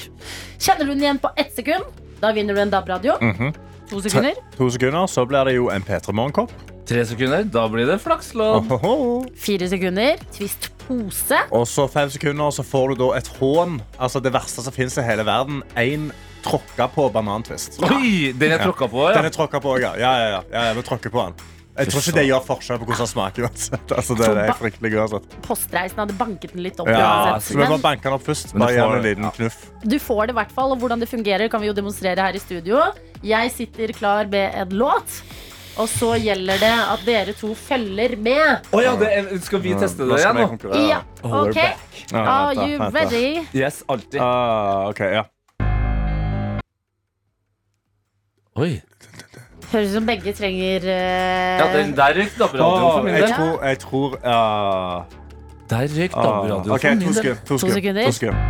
B: Kjenner du den igjen på ett sekund, da vinner du en DAB-radio.
D: Mhm.
B: To sekunder.
D: To sekunder, så blir det jo en P3 Morgenkopp.
C: Tre sekunder, da blir det flakslån.
D: Ohoho.
B: Fire sekunder. Twist pose.
D: Og så fem sekunder, så får du da et hån. Altså det verste som fins i hele verden. Én tråkka på banantvist.
C: Oi, den er tråkka på.
D: Den
C: Ja.
D: er tråkka på, ja. Ja, ja, ja. ja, ja vi tråkker på den. Jeg tror ikke det gjør forskjell på hvordan den smaker. uansett. Altså, det er fryktelig uansett.
B: Toppstreisen hadde banket den litt opp.
D: Ja,
B: uansett.
D: så vi må
B: Men
D: banke den opp først.
C: altså, Men
D: Bare
C: du
D: gjør
C: får-
D: en liten
C: ja.
D: knuff.
B: du får det i hvert fall, og hvordan det fungerer kan vi jo demonstrere her i studio. Jeg sitter klar med en låt, og så gjelder det at dere to følger med.
C: Å ja, det er, skal vi teste
D: Nå
C: det
D: skal
C: igjen,
D: vi
C: nå?
D: konkurrere.
B: Ja, OK.
D: Ja,
B: Are
D: vent da,
B: you
D: vent da.
B: ready?
C: Yes, alltid.
D: Ah, ok, ja.
C: Oi.
B: Høres ut som begge trenger eh,
C: Ja, den der røyk DAB-radioen for
D: Åh,
C: min
D: jeg
C: del.
D: tror, jeg tror ah,
C: Der røyk
D: ah.
C: DAB-radioen
D: OK,
C: for
D: to
C: min del.
D: sekunder. To
B: sekunder.
D: sekunder. To sekunder.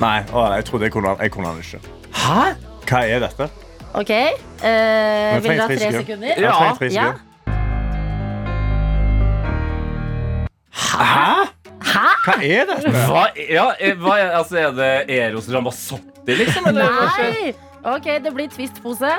D: Nei, åh, jeg trodde jeg kunne den. Jeg kunne den ikke.
C: Hæ?
D: Hva er dette?
B: OK. eh,
D: Men
B: vil dere ha tre
D: trenger tre
B: sekunder?
D: Jeg trenger tre
B: Ja.
D: sekunder. Hæ? Hva er dette?
C: Hva, ja, eh, hva er, altså, er det Eros Ramazzotti, liksom? Eller? hva skjer?
B: Nei! OK, det blir twist-pose.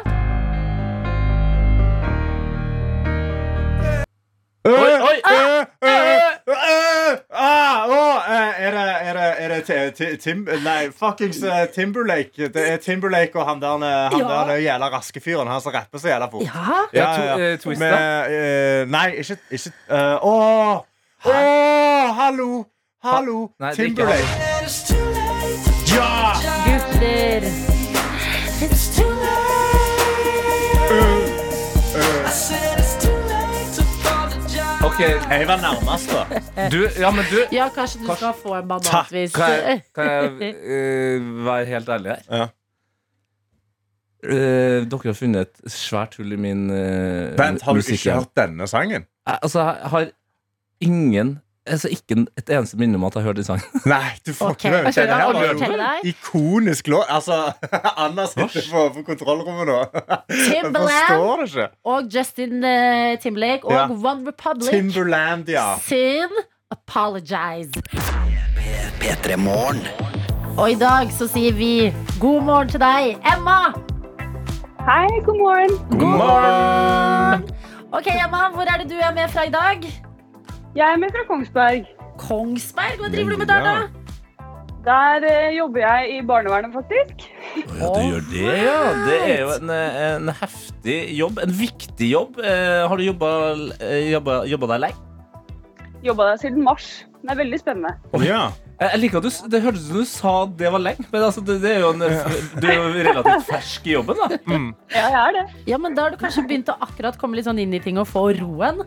C: Oi, oi,
D: Øh, øh, øh, ah, åh, eh, Er det, er det, er det ti- ti- Tim, Nei, fuckings eh, Timberlake. Det er Timberlake og han der, han
B: Ja.
D: der jævla raske fyren. Han som rapper så jævla fort.
B: Ja.
C: Ja, to- eh, Twista.
D: Med, eh, nei, ikke, ikke eh, Åh! Åh, hallo! Hallo!
C: Ha- nei, det er ikke
D: Timberlake. Ja!
B: Gutter.
C: Ok,
D: Jeg var nærmest, da.
C: du, ja, men du
B: Ja, kanskje du skal få en
D: Ta-
B: banan hvis
C: Kan jeg, kan jeg eh, være helt ærlig her?
D: Ja.
C: Eh, dere har funnet et svært hull i min uh,
D: Vent, har du ikke hørt denne sangen?
C: Altså, jeg har ingen Altså, ikke en- et eneste minne om at jeg har hørt den sangen.
D: Nei, du får
B: Ok,
D: ikke det.
B: hva skjer
D: Denne
B: da?
D: her
B: Oliver,
D: var jo
B: fortell deg.
D: ikonisk låt. Altså, Anna sitter på, på kontrollrommet nå. Jeg
B: Timberland
D: forstår det ikke.
B: og Justin eh, Timberlake og
D: Ja.
B: One Republic
D: Timberlandia.
B: sin Apologize. Og i dag så sier vi god morgen til deg, Emma.
E: Hei, god morgen.
D: God morgen!
B: Ok, Emma, hvor er det du er med fra i dag?
E: Jeg er med fra Kongsberg.
B: Kongsberg? Hva driver du med der, da?
E: Der eh, jobber jeg i barnevernet, faktisk.
C: Ja, du gjør det, ja. Det er jo en, eh, en heftig jobb. En viktig jobb. Eh, har du jobba, eh, jobba, jobba deg lenge?
E: Jobba der siden mars. Det er veldig spennende.
D: Ja.
C: Eh, Jeg liker at du, s- Det hørtes ut som du sa det var lenge, men altså, det, det er jo en, du er jo relativt fersk i jobben. da
E: Ja, jeg er det.
B: Ja, men Da har du kanskje begynt å akkurat komme litt sånn inn i ting og få roen?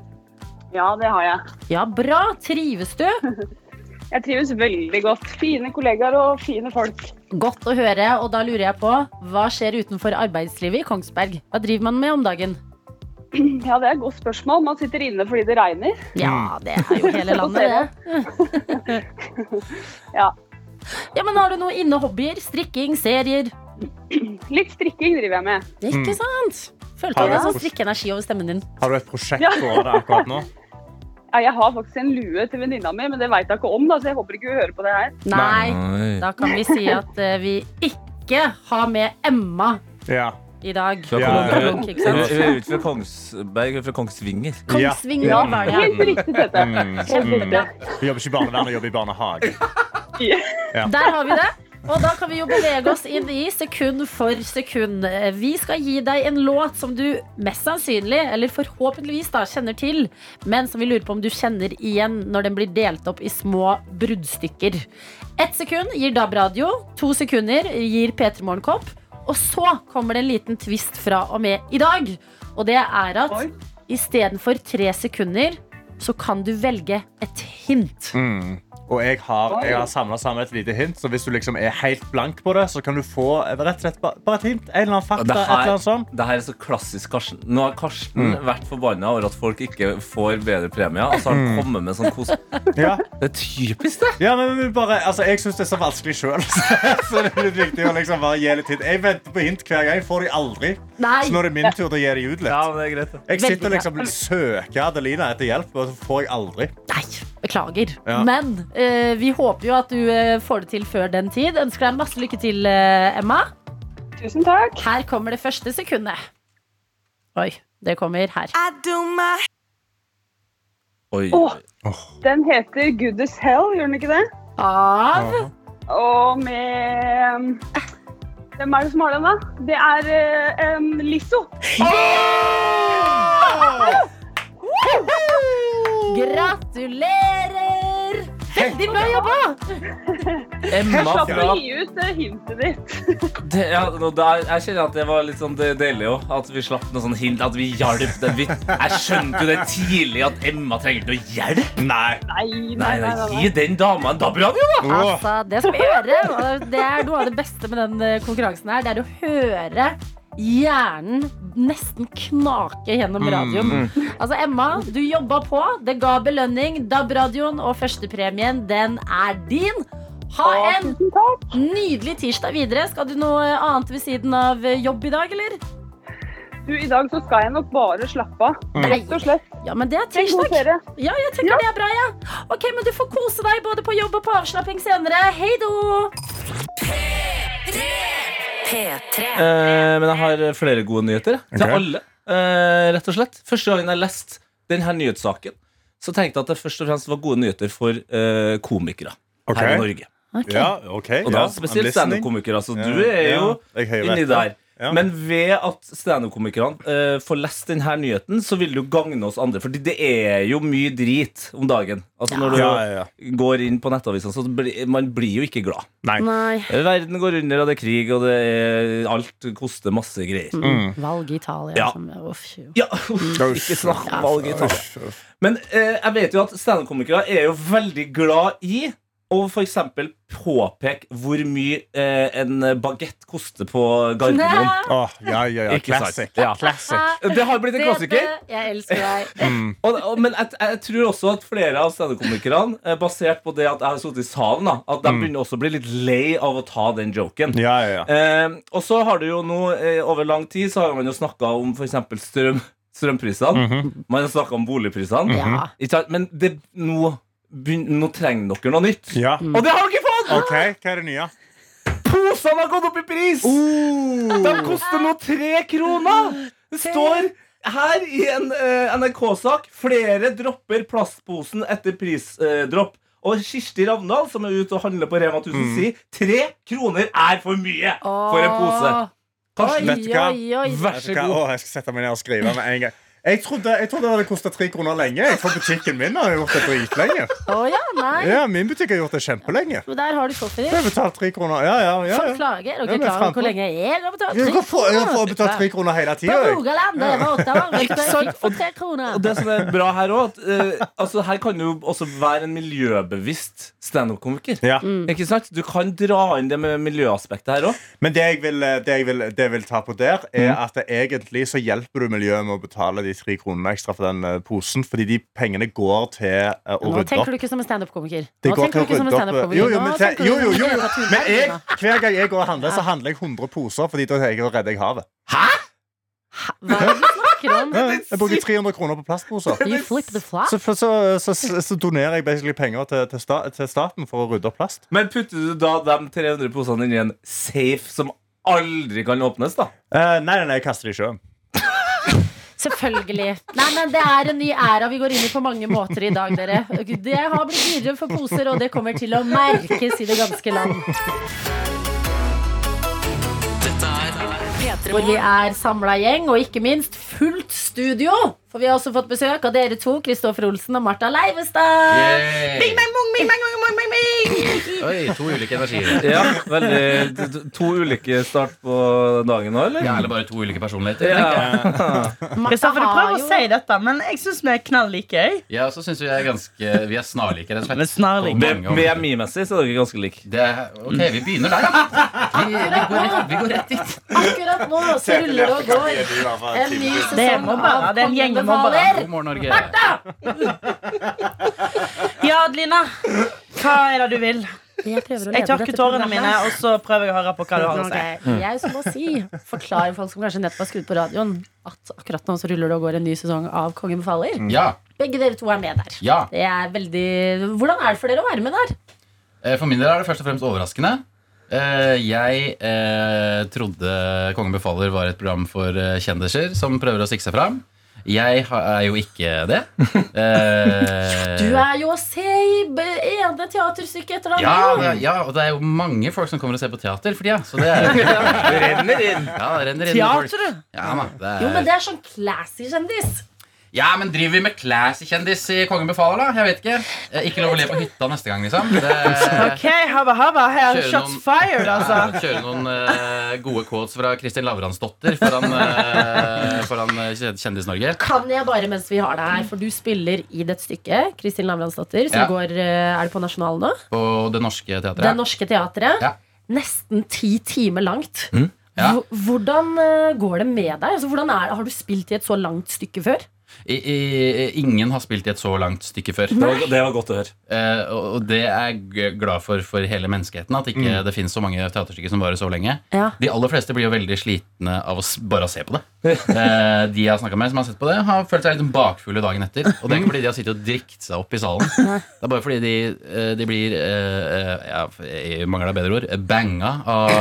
E: Ja, det har jeg.
B: Ja, bra. Trives du?
E: Jeg trives veldig godt. Fine kollegaer og fine folk.
B: Godt å høre. Og da lurer jeg på, hva skjer utenfor arbeidslivet i Kongsberg? Hva driver man med om dagen?
E: Ja, det er et godt spørsmål. Man sitter inne fordi det regner.
B: Ja, det er jo hele landet, det.
E: Ja.
B: Ja, men har du noen innehobbyer? Strikking, serier? Mm.
E: Litt strikking driver jeg med.
B: Ikke sant? Følte
D: Har
B: du
D: du-
B: deg sånn strikkeenergi over stemmen din?
D: Har du et prosjekt
E: Ja.
D: på det akkurat nå?
E: Ja, jeg har faktisk en lue til venninna mi, men det veit hun ikke om, da, så jeg håper ikke hun hører på det her.
B: Nei.
C: Oi.
B: Da kan vi si at eh, vi ikke har med Emma
D: Ja.
B: i dag.
C: Fra
D: Ja,
C: Kong-
D: ja, ja.
C: Hun-
B: Ikke sant?
C: hun er jo ikke fra Kongsberg, hun er fra Kongsvinger.
B: Kongsvinger
D: Ja.
B: var det.
E: Helt riktig, Tete.
D: Mm.
E: Helt
D: Mm.
E: riktig.
D: Vi jobber ikke i barnevern, vi jobber i barnehage.
B: Der har vi det. Og da kan vi jo bevege oss inn i sekund for sekund. Eh, Vi skal gi deg en låt som du mest sannsynlig, eller forhåpentligvis da, kjenner til, men som vi lurer på om du kjenner igjen når den blir delt opp i små bruddstykker. Ett sekund gir DAB-radio, to sekunder gir P3 Morgenkopp, og så kommer det en liten twist fra og med i dag. Og det er at
E: Oi.
B: istedenfor tre sekunder, så kan du velge et hint.
D: Mm. Og jeg har, jeg har samla sammen et lite hint, så hvis du liksom er helt blank på det, så kan du få eh, rett og slett ba- bare et hint. En eller annen fakta.
C: Det
D: Et eller
C: her, sånn.
D: annet sånt.
C: det her er så klassisk Karsten. Nå har Karsten vært forbanna over at folk ikke får bedre premier. Og så har han kommet med sånn kos...
D: Ja.
C: Det er typisk, det!
D: Ja, men vi bare, altså, Jeg syns det er så vanskelig sjøl. Så det er litt viktig å liksom bare gi litt hint. Jeg venter på hint hver gang. Jeg får de aldri.
B: Nei.
D: Så nå er det min tur til å gi de ut litt.
C: Ja, men det er greit, det.
D: Jeg sitter og
B: Veldig
D: liksom søker Adelina etter hjelp, og så får jeg aldri.
B: Nei, beklager.
D: Ja.
B: Men eh, vi håper jo at du eh, får det til før den tid. Ønsker deg masse lykke til, eh, Emma.
E: Tusen takk.
B: Her kommer det første sekundet. Oi, det kommer her.
C: Oi.
E: Åh. Den heter Good as Hell, gjør den ikke det?
B: Av
E: Og med um, eh, Hvem er det som har den, da? Det er uh, um, Lisso.
D: Å,
B: Gratulerer! Veldig bra jobba!
E: Jeg
C: Emma
E: slapp
C: fra
E: å gi ut eh, hintet ditt.
C: det, ja, nå der, Jeg kjenner at det var litt sånn de- deilig òg. At vi slapp noe sånn hint. At vi hjalp den. Vi, jeg skjønte jo det tidlig at Emma trenger noe hjelp. Nei,
E: Nei, nei,
C: nei,
E: nei. nei, nei.
C: Gi den dama en DAB-radio, da!
B: Altså, det skal vi høre. og Det er noe av det beste med den eh, konkurransen her. Det er å høre hjernen nesten knake gjennom radioen. Altså, Emma, du jobba på. Det ga belønning. DAB-radioen og førstepremien, den er din. Ha
E: Å,
B: en
E: Tusen takk.
B: nydelig tirsdag videre. Skal du noe annet ved siden av eh, jobb i dag, eller?
E: Du, I dag så skal jeg nok bare slappe av.
C: Mm.
E: Rett og slett.
B: Ja, men det er
E: En god
B: tirsdag.
E: ferie.
B: Ja, jeg tenker det er bra, ja. Ok, men du får kose deg både på jobb og på avslapping senere. Hei då!
A: P3.
C: Eh, men jeg har flere gode nyheter jeg, til
D: Ok.
C: alle. eh, rett og slett Første gangen jeg leste denne nyhetssaken, så tenkte jeg at det først og fremst var gode nyheter for eh, komikere
D: Ok.
C: her i Norge.
D: Ja, ok.
C: Og da
D: ja, I'm
C: spesielt
D: listening.
C: standup-komikere. Så
D: Ja,
C: du er
D: ja,
C: jo
D: jeg har jo
C: inni
D: vært
C: der.
D: Ja.
C: Men ved at standup-komikerne eh, får lest denne nyheten, så vil det jo gagne oss andre. Fordi det er jo mye drit om dagen. Altså Når du
D: Ja, ja, ja.
C: går inn på nettavisene, så blir man blir jo ikke glad.
B: Nei.
C: Verden går under, og det er krig, og det er alt koster masse greier.
B: Valg i Italia.
C: Ja.
B: Som, uff, jo.
C: Ja, uff, ikke snakk om valg i Italia. Men eh, jeg vet jo at standup-komikere er jo veldig glad i å for eksempel påpeke hvor mye eh, en bagett koster på Gardermoen.
B: Nei.
D: Åh, ja, ja, ja.
C: Ikke sant?
D: Classic.
C: Ja.
D: Classic. Mm.
C: Det har blitt en klassiker.
B: Tete, Jeg elsker deg.
C: Og, og, men jeg, jeg tror også at flere av standup-komikerne, eh, basert på det at jeg har sittet i salen, da, at de begynner også å bli litt lei av å ta den joken.
D: Ja, ja, ja.
C: Eh, og så har du jo nå, eh, over lang tid, så har man jo snakka om f.eks. strøm,
D: Mm.
C: strømprisene. Man har snakka om boligprisene.
D: Mhm.
B: Ja.
C: Ikke sant? Men det, nå, begyn- nå trenger dere noe nytt.
D: ja.
C: Og det har dere fått!
D: OK, hva er det nye?
C: Posene har gått opp i pris!
D: Oh.
C: De koster nå tre kroner! Det står her i en eh, NRK-sak flere dropper plastposen etter prisdropp. og Kirsti Ravndal, som er ute og handler på Rema 1000,
D: Mm.
C: sier tre kroner er for mye for en pose. Karsten,
D: vet du hva?
B: Oi, oi, oi.
C: Vær så
D: Vet du hva?
C: god.
D: Åh, jeg skal sette meg ned og skrive med en gang. Jeg trodde, jeg trodde det hadde kosta tre kroner lenge. Jeg tror butikken min har gjort det dritlenge.
B: Å ja, nei.
D: Ja, min butikk har gjort det kjempelenge.
B: Men Der har du
D: Jeg har
B: shopping.
D: betalt tre kroner. Ja, ja, ja,
B: Folk
D: ja.
B: klager og
D: Ja, men
B: ikke klager om
D: faen,
B: hvor
D: faen.
B: lenge jeg har betalt.
D: Jeg har fått- jeg har fått betalt tre
B: Vet du hva?
D: kroner hele
B: På
D: tida.
B: Rogaland, da jeg var åtte år, vet du, jeg fikk for tre kroner.
C: Og det som er bra her òg, at eh, altså, her kan du jo også være en miljøbevisst standup-komiker.
D: Ja.
B: Mm.
C: Ikke sant? Du kan dra inn det med miljøaspektet her òg.
D: Men det jeg, vil, det, jeg vil, det jeg vil ta på der, er
C: Mm.
D: at det egentlig så hjelper du miljøet med å betale de tre kronene ekstra for den eh, posen, fordi de pengene går til eh, å
B: Nå
D: rydde
B: tenker
D: opp.
B: du ikke som en standup-komiker.
D: Det
B: Nå
D: går til
B: tenker
D: å
B: du ikke som en
D: rydde opp
B: standup-komiker.
D: jo, jo, men,
B: Nå
D: se,
B: tenker du
D: jo,
B: som
D: jo,
B: en
D: jo, jo.
B: jævla
D: men jeg,
B: tullhaugen,
D: hver gang jeg går og handler, så handler jeg 100 poser, Fordi da tenker jeg å redde jeg havet.
B: da. Hva er det du snakker om?
D: Ja, Jeg bruker 300 kroner på plastposer.
B: You flip the flop.
D: Så, for- så, så, så, så donerer jeg basically penger til, til, sta, til staten for å rydde opp plast.
C: Men putter du da de 300 posene inn i en safe som aldri kan åpnes, da?
D: Eh, nei, nei, nei, jeg kaster det i sjøen.
B: Selvfølgelig. Nei, men Det er en ny æra vi går inn i på mange måter i dag, dere. Det har blitt dyrere for poser, og det kommer til å merkes i det ganske land.
A: P3
B: Hvor vi
A: Morgen.
B: er samla gjeng, og ikke minst fullt studio. For vi har også fått besøk av dere to, Kristoffer Olsen og Martha Leivestad.
F: Bing, bang, bong, bing, bang, bong, bong, bing, bing. Oi, to ulike energier.
C: Ja, veldig d- d- To ulike start på dagen nå, eller?
F: Ja, eller bare to ulike personligheter. tenker jeg.
C: Ja.
B: Martha
G: Kristoffer, du prøver
B: jo-
G: å si dette, men jeg syns vi er knalllike. jeg.
F: Ja, og så synes vi er ganske Vi er snarlike, rett og slett.
G: Vi er snarlike.
F: På mange områder.
C: BMI-messig så er dere ganske like.
F: Det, ok, vi begynner der, da. Vi, vi, går rett, vi går rett dit.
B: Akkurat nå så ruller det og går en ny
G: Det er
B: sesong
G: mobbere.
B: av
G: Det er en gjeng med mobbere.
B: Kongebefaler.
F: God morgen, Norge.
G: Ja, Adelina. Hva er det du vil?
B: Jeg prøver å leve
G: Jeg tørker
B: dette
G: tårene
B: programmet.
G: mine, og så prøver jeg å høre på hva du har å si.
B: Ok, Jeg som må si, forklare folk som kanskje nettopp har skrudd på radioen, at akkurat nå så ruller det og går en ny sesong av Kongen befaler.
F: Ja.
B: Begge dere to er med der.
F: ja.
B: Det er veldig Hvordan er det for dere å være med der?
F: Eh, For min del er det først og fremst overraskende. Eh, Jeg eh, trodde Kongen befaler var et program for eh, kjendiser som prøver å stikke seg fram. Jeg ha- er jo ikke det. Eh,
B: Du er jo å se i b- ene teaterstykket etter det
F: ja,
B: andre.
F: men- ja, og det er jo mange folk som kommer og ser på teater for tida. Så det er jo
C: Det renner inn.
F: Ja, det renner inn med folk.
G: Teater, du.
F: Ja, da, det er,
B: Jo, men det er sånn classy kjendis.
F: Ja, men driver vi med classy kjendis i Kongen befaler, da? Jeg vet ikke. Eh, Ikke lov å le på hytta neste gang, liksom. Det,
G: OK, habba habba. Her er
F: Kjører
G: shots
F: noen-
G: fired, altså.
F: Kjøre noen eh, gode quotes fra Kristin Lavransdotter foran, eh, foran eh, Kjendis-Norge.
B: Kan jeg bare mens vi har deg her, for du spiller i dette stykket, Kristin Lavransdatter, som
F: Ja.
B: går eh, Er det på Nasjonal nå?
F: På Det Norske Teatret.
B: Det norske teatret.
F: Ja. Mm.
B: Nesten ti timer langt.
F: Ja.
B: Hvor- Hvordan eh, går det med deg? Altså, hvordan er, har du spilt i et så langt stykke før?
F: I, i, ingen har spilt i et så langt stykke før.
C: Det var, det var godt å høre.
F: Eh, og og det er jeg g- glad for for hele menneskeheten. At ikke det finnes så mange teaterstykker som varer så lenge.
B: Ja.
F: De aller fleste blir jo veldig slitne av å s bare å se på det. Eh, de jeg har snakka med, som har sett på det, har følt seg litt bakfulle dagen etter. Og det er ikke fordi de har sittet og drikt seg opp i salen. Det er bare fordi de, eh, de blir eh, eh, ja, Jeg mangler da bedre ord. eh, Banga av,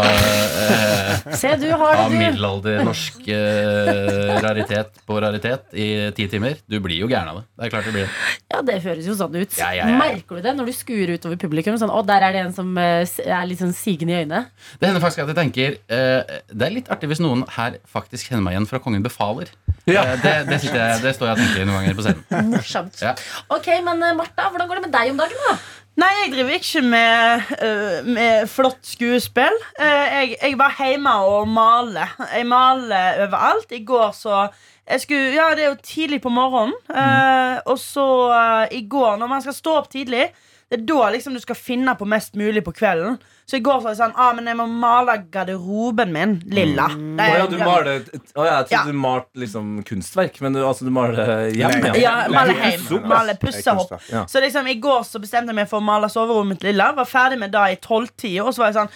F: eh,
B: Se, du har
F: av
B: det, du.
F: middelaldernorsk eh, raritet på raritet i ti timer. Du blir jo gæren av det. Det er klart du blir det.
B: Ja, det høres jo sånn ut.
F: Ja, ja, ja.
B: Merker du det når du skuer utover publikum? Sånn, å, der er det en som eh, s- er litt sånn sigende i øynene.
F: Det hender faktisk at jeg tenker eh, Det er litt artig hvis noen her faktisk kjenner meg igjen fra Kongen befaler. Eh, det, det, sitter jeg, det står jeg og tenker noen ganger på scenen.
B: Morsomt.
F: Ja.
B: Ok, men eh, Martha, hvordan går det med deg om dagen, da?
G: Nei, jeg driver ikke med, øh, med flott skuespill. Eh, jeg, jeg var hjemme og maler. Jeg maler overalt. I går så jeg skulle, Ja, det er jo tidlig på morgenen.
C: Mhm.
G: eh, og så eh, i går, når man skal stå opp tidlig, det er da liksom du skal finne på mest mulig på kvelden. Så i går så var jeg sånn ah, men jeg må male garderoben min lilla. Det
C: Mm. Å
G: er-
C: ja, du maler Å ja, jeg
G: Ja.
C: trodde du malte liksom kunstverk, men du, altså, du maler hjem, ja.
G: Ja, male
D: Nei,
G: hjem.
D: pusser opp.
G: Male pusse opp.
D: kunstverk,
C: ja.
G: Så liksom, I går så bestemte jeg meg for å male soverommet mitt lilla. Var ferdig med det i tolvtida. Og så var jeg sånn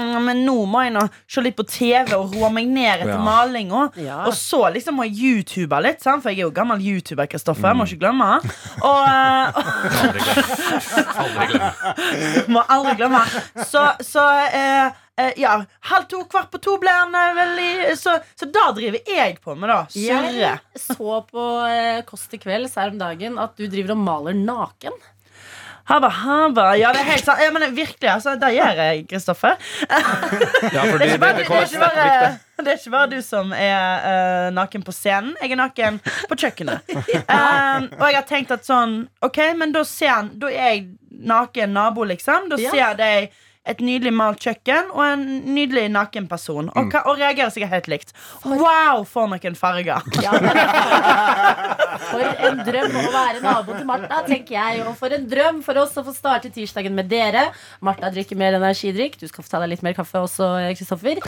G: mm, Men nå må jeg nå se litt på TV og roe meg ned etter
C: Ja.
G: malinga.
B: Ja.
G: Og så liksom må jeg youtube litt, sant? for jeg er jo gammel youtuber, Kristoffer. Må ikke glemme. Og, eh,
F: Aldri glemme. Aldri glemme.
G: må aldri glemme. Så, så eh, eh, ja, halv to, kvart på to ble han eh, vel i så, så da driver jeg på med, da. Surre.
B: Jeg så på eh, Kåss til kvelds her om dagen at du driver og maler naken.
G: Haba, haba. Ja, det er helt sant. Ja, men virkelig, altså. Det gjør jeg, Kristoffer.
C: ja for
G: Det er ikke
C: det,
G: bare,
C: det,
G: det er
C: kommer
G: ikke bare, det er ikke bare du som er eh, naken på scenen. Jeg er naken på kjøkkenet. Um, og jeg har tenkt at sånn Ok, men da ser han Da er jeg naken nabo, liksom. Da
B: Ja.
G: ser de et nydelig malt kjøkken og en nydelig naken person.
C: Mm.
G: Og, hva- og reagerer sikkert helt likt. Wow, for noen farger!
B: Ja. For en drøm å være nabo til Martha, tenker jeg. Og for en drøm for oss å få starte tirsdagen med dere. Martha drikker mer energidrikk. Du skal få ta deg litt mer kaffe også, eh, Kristoffer.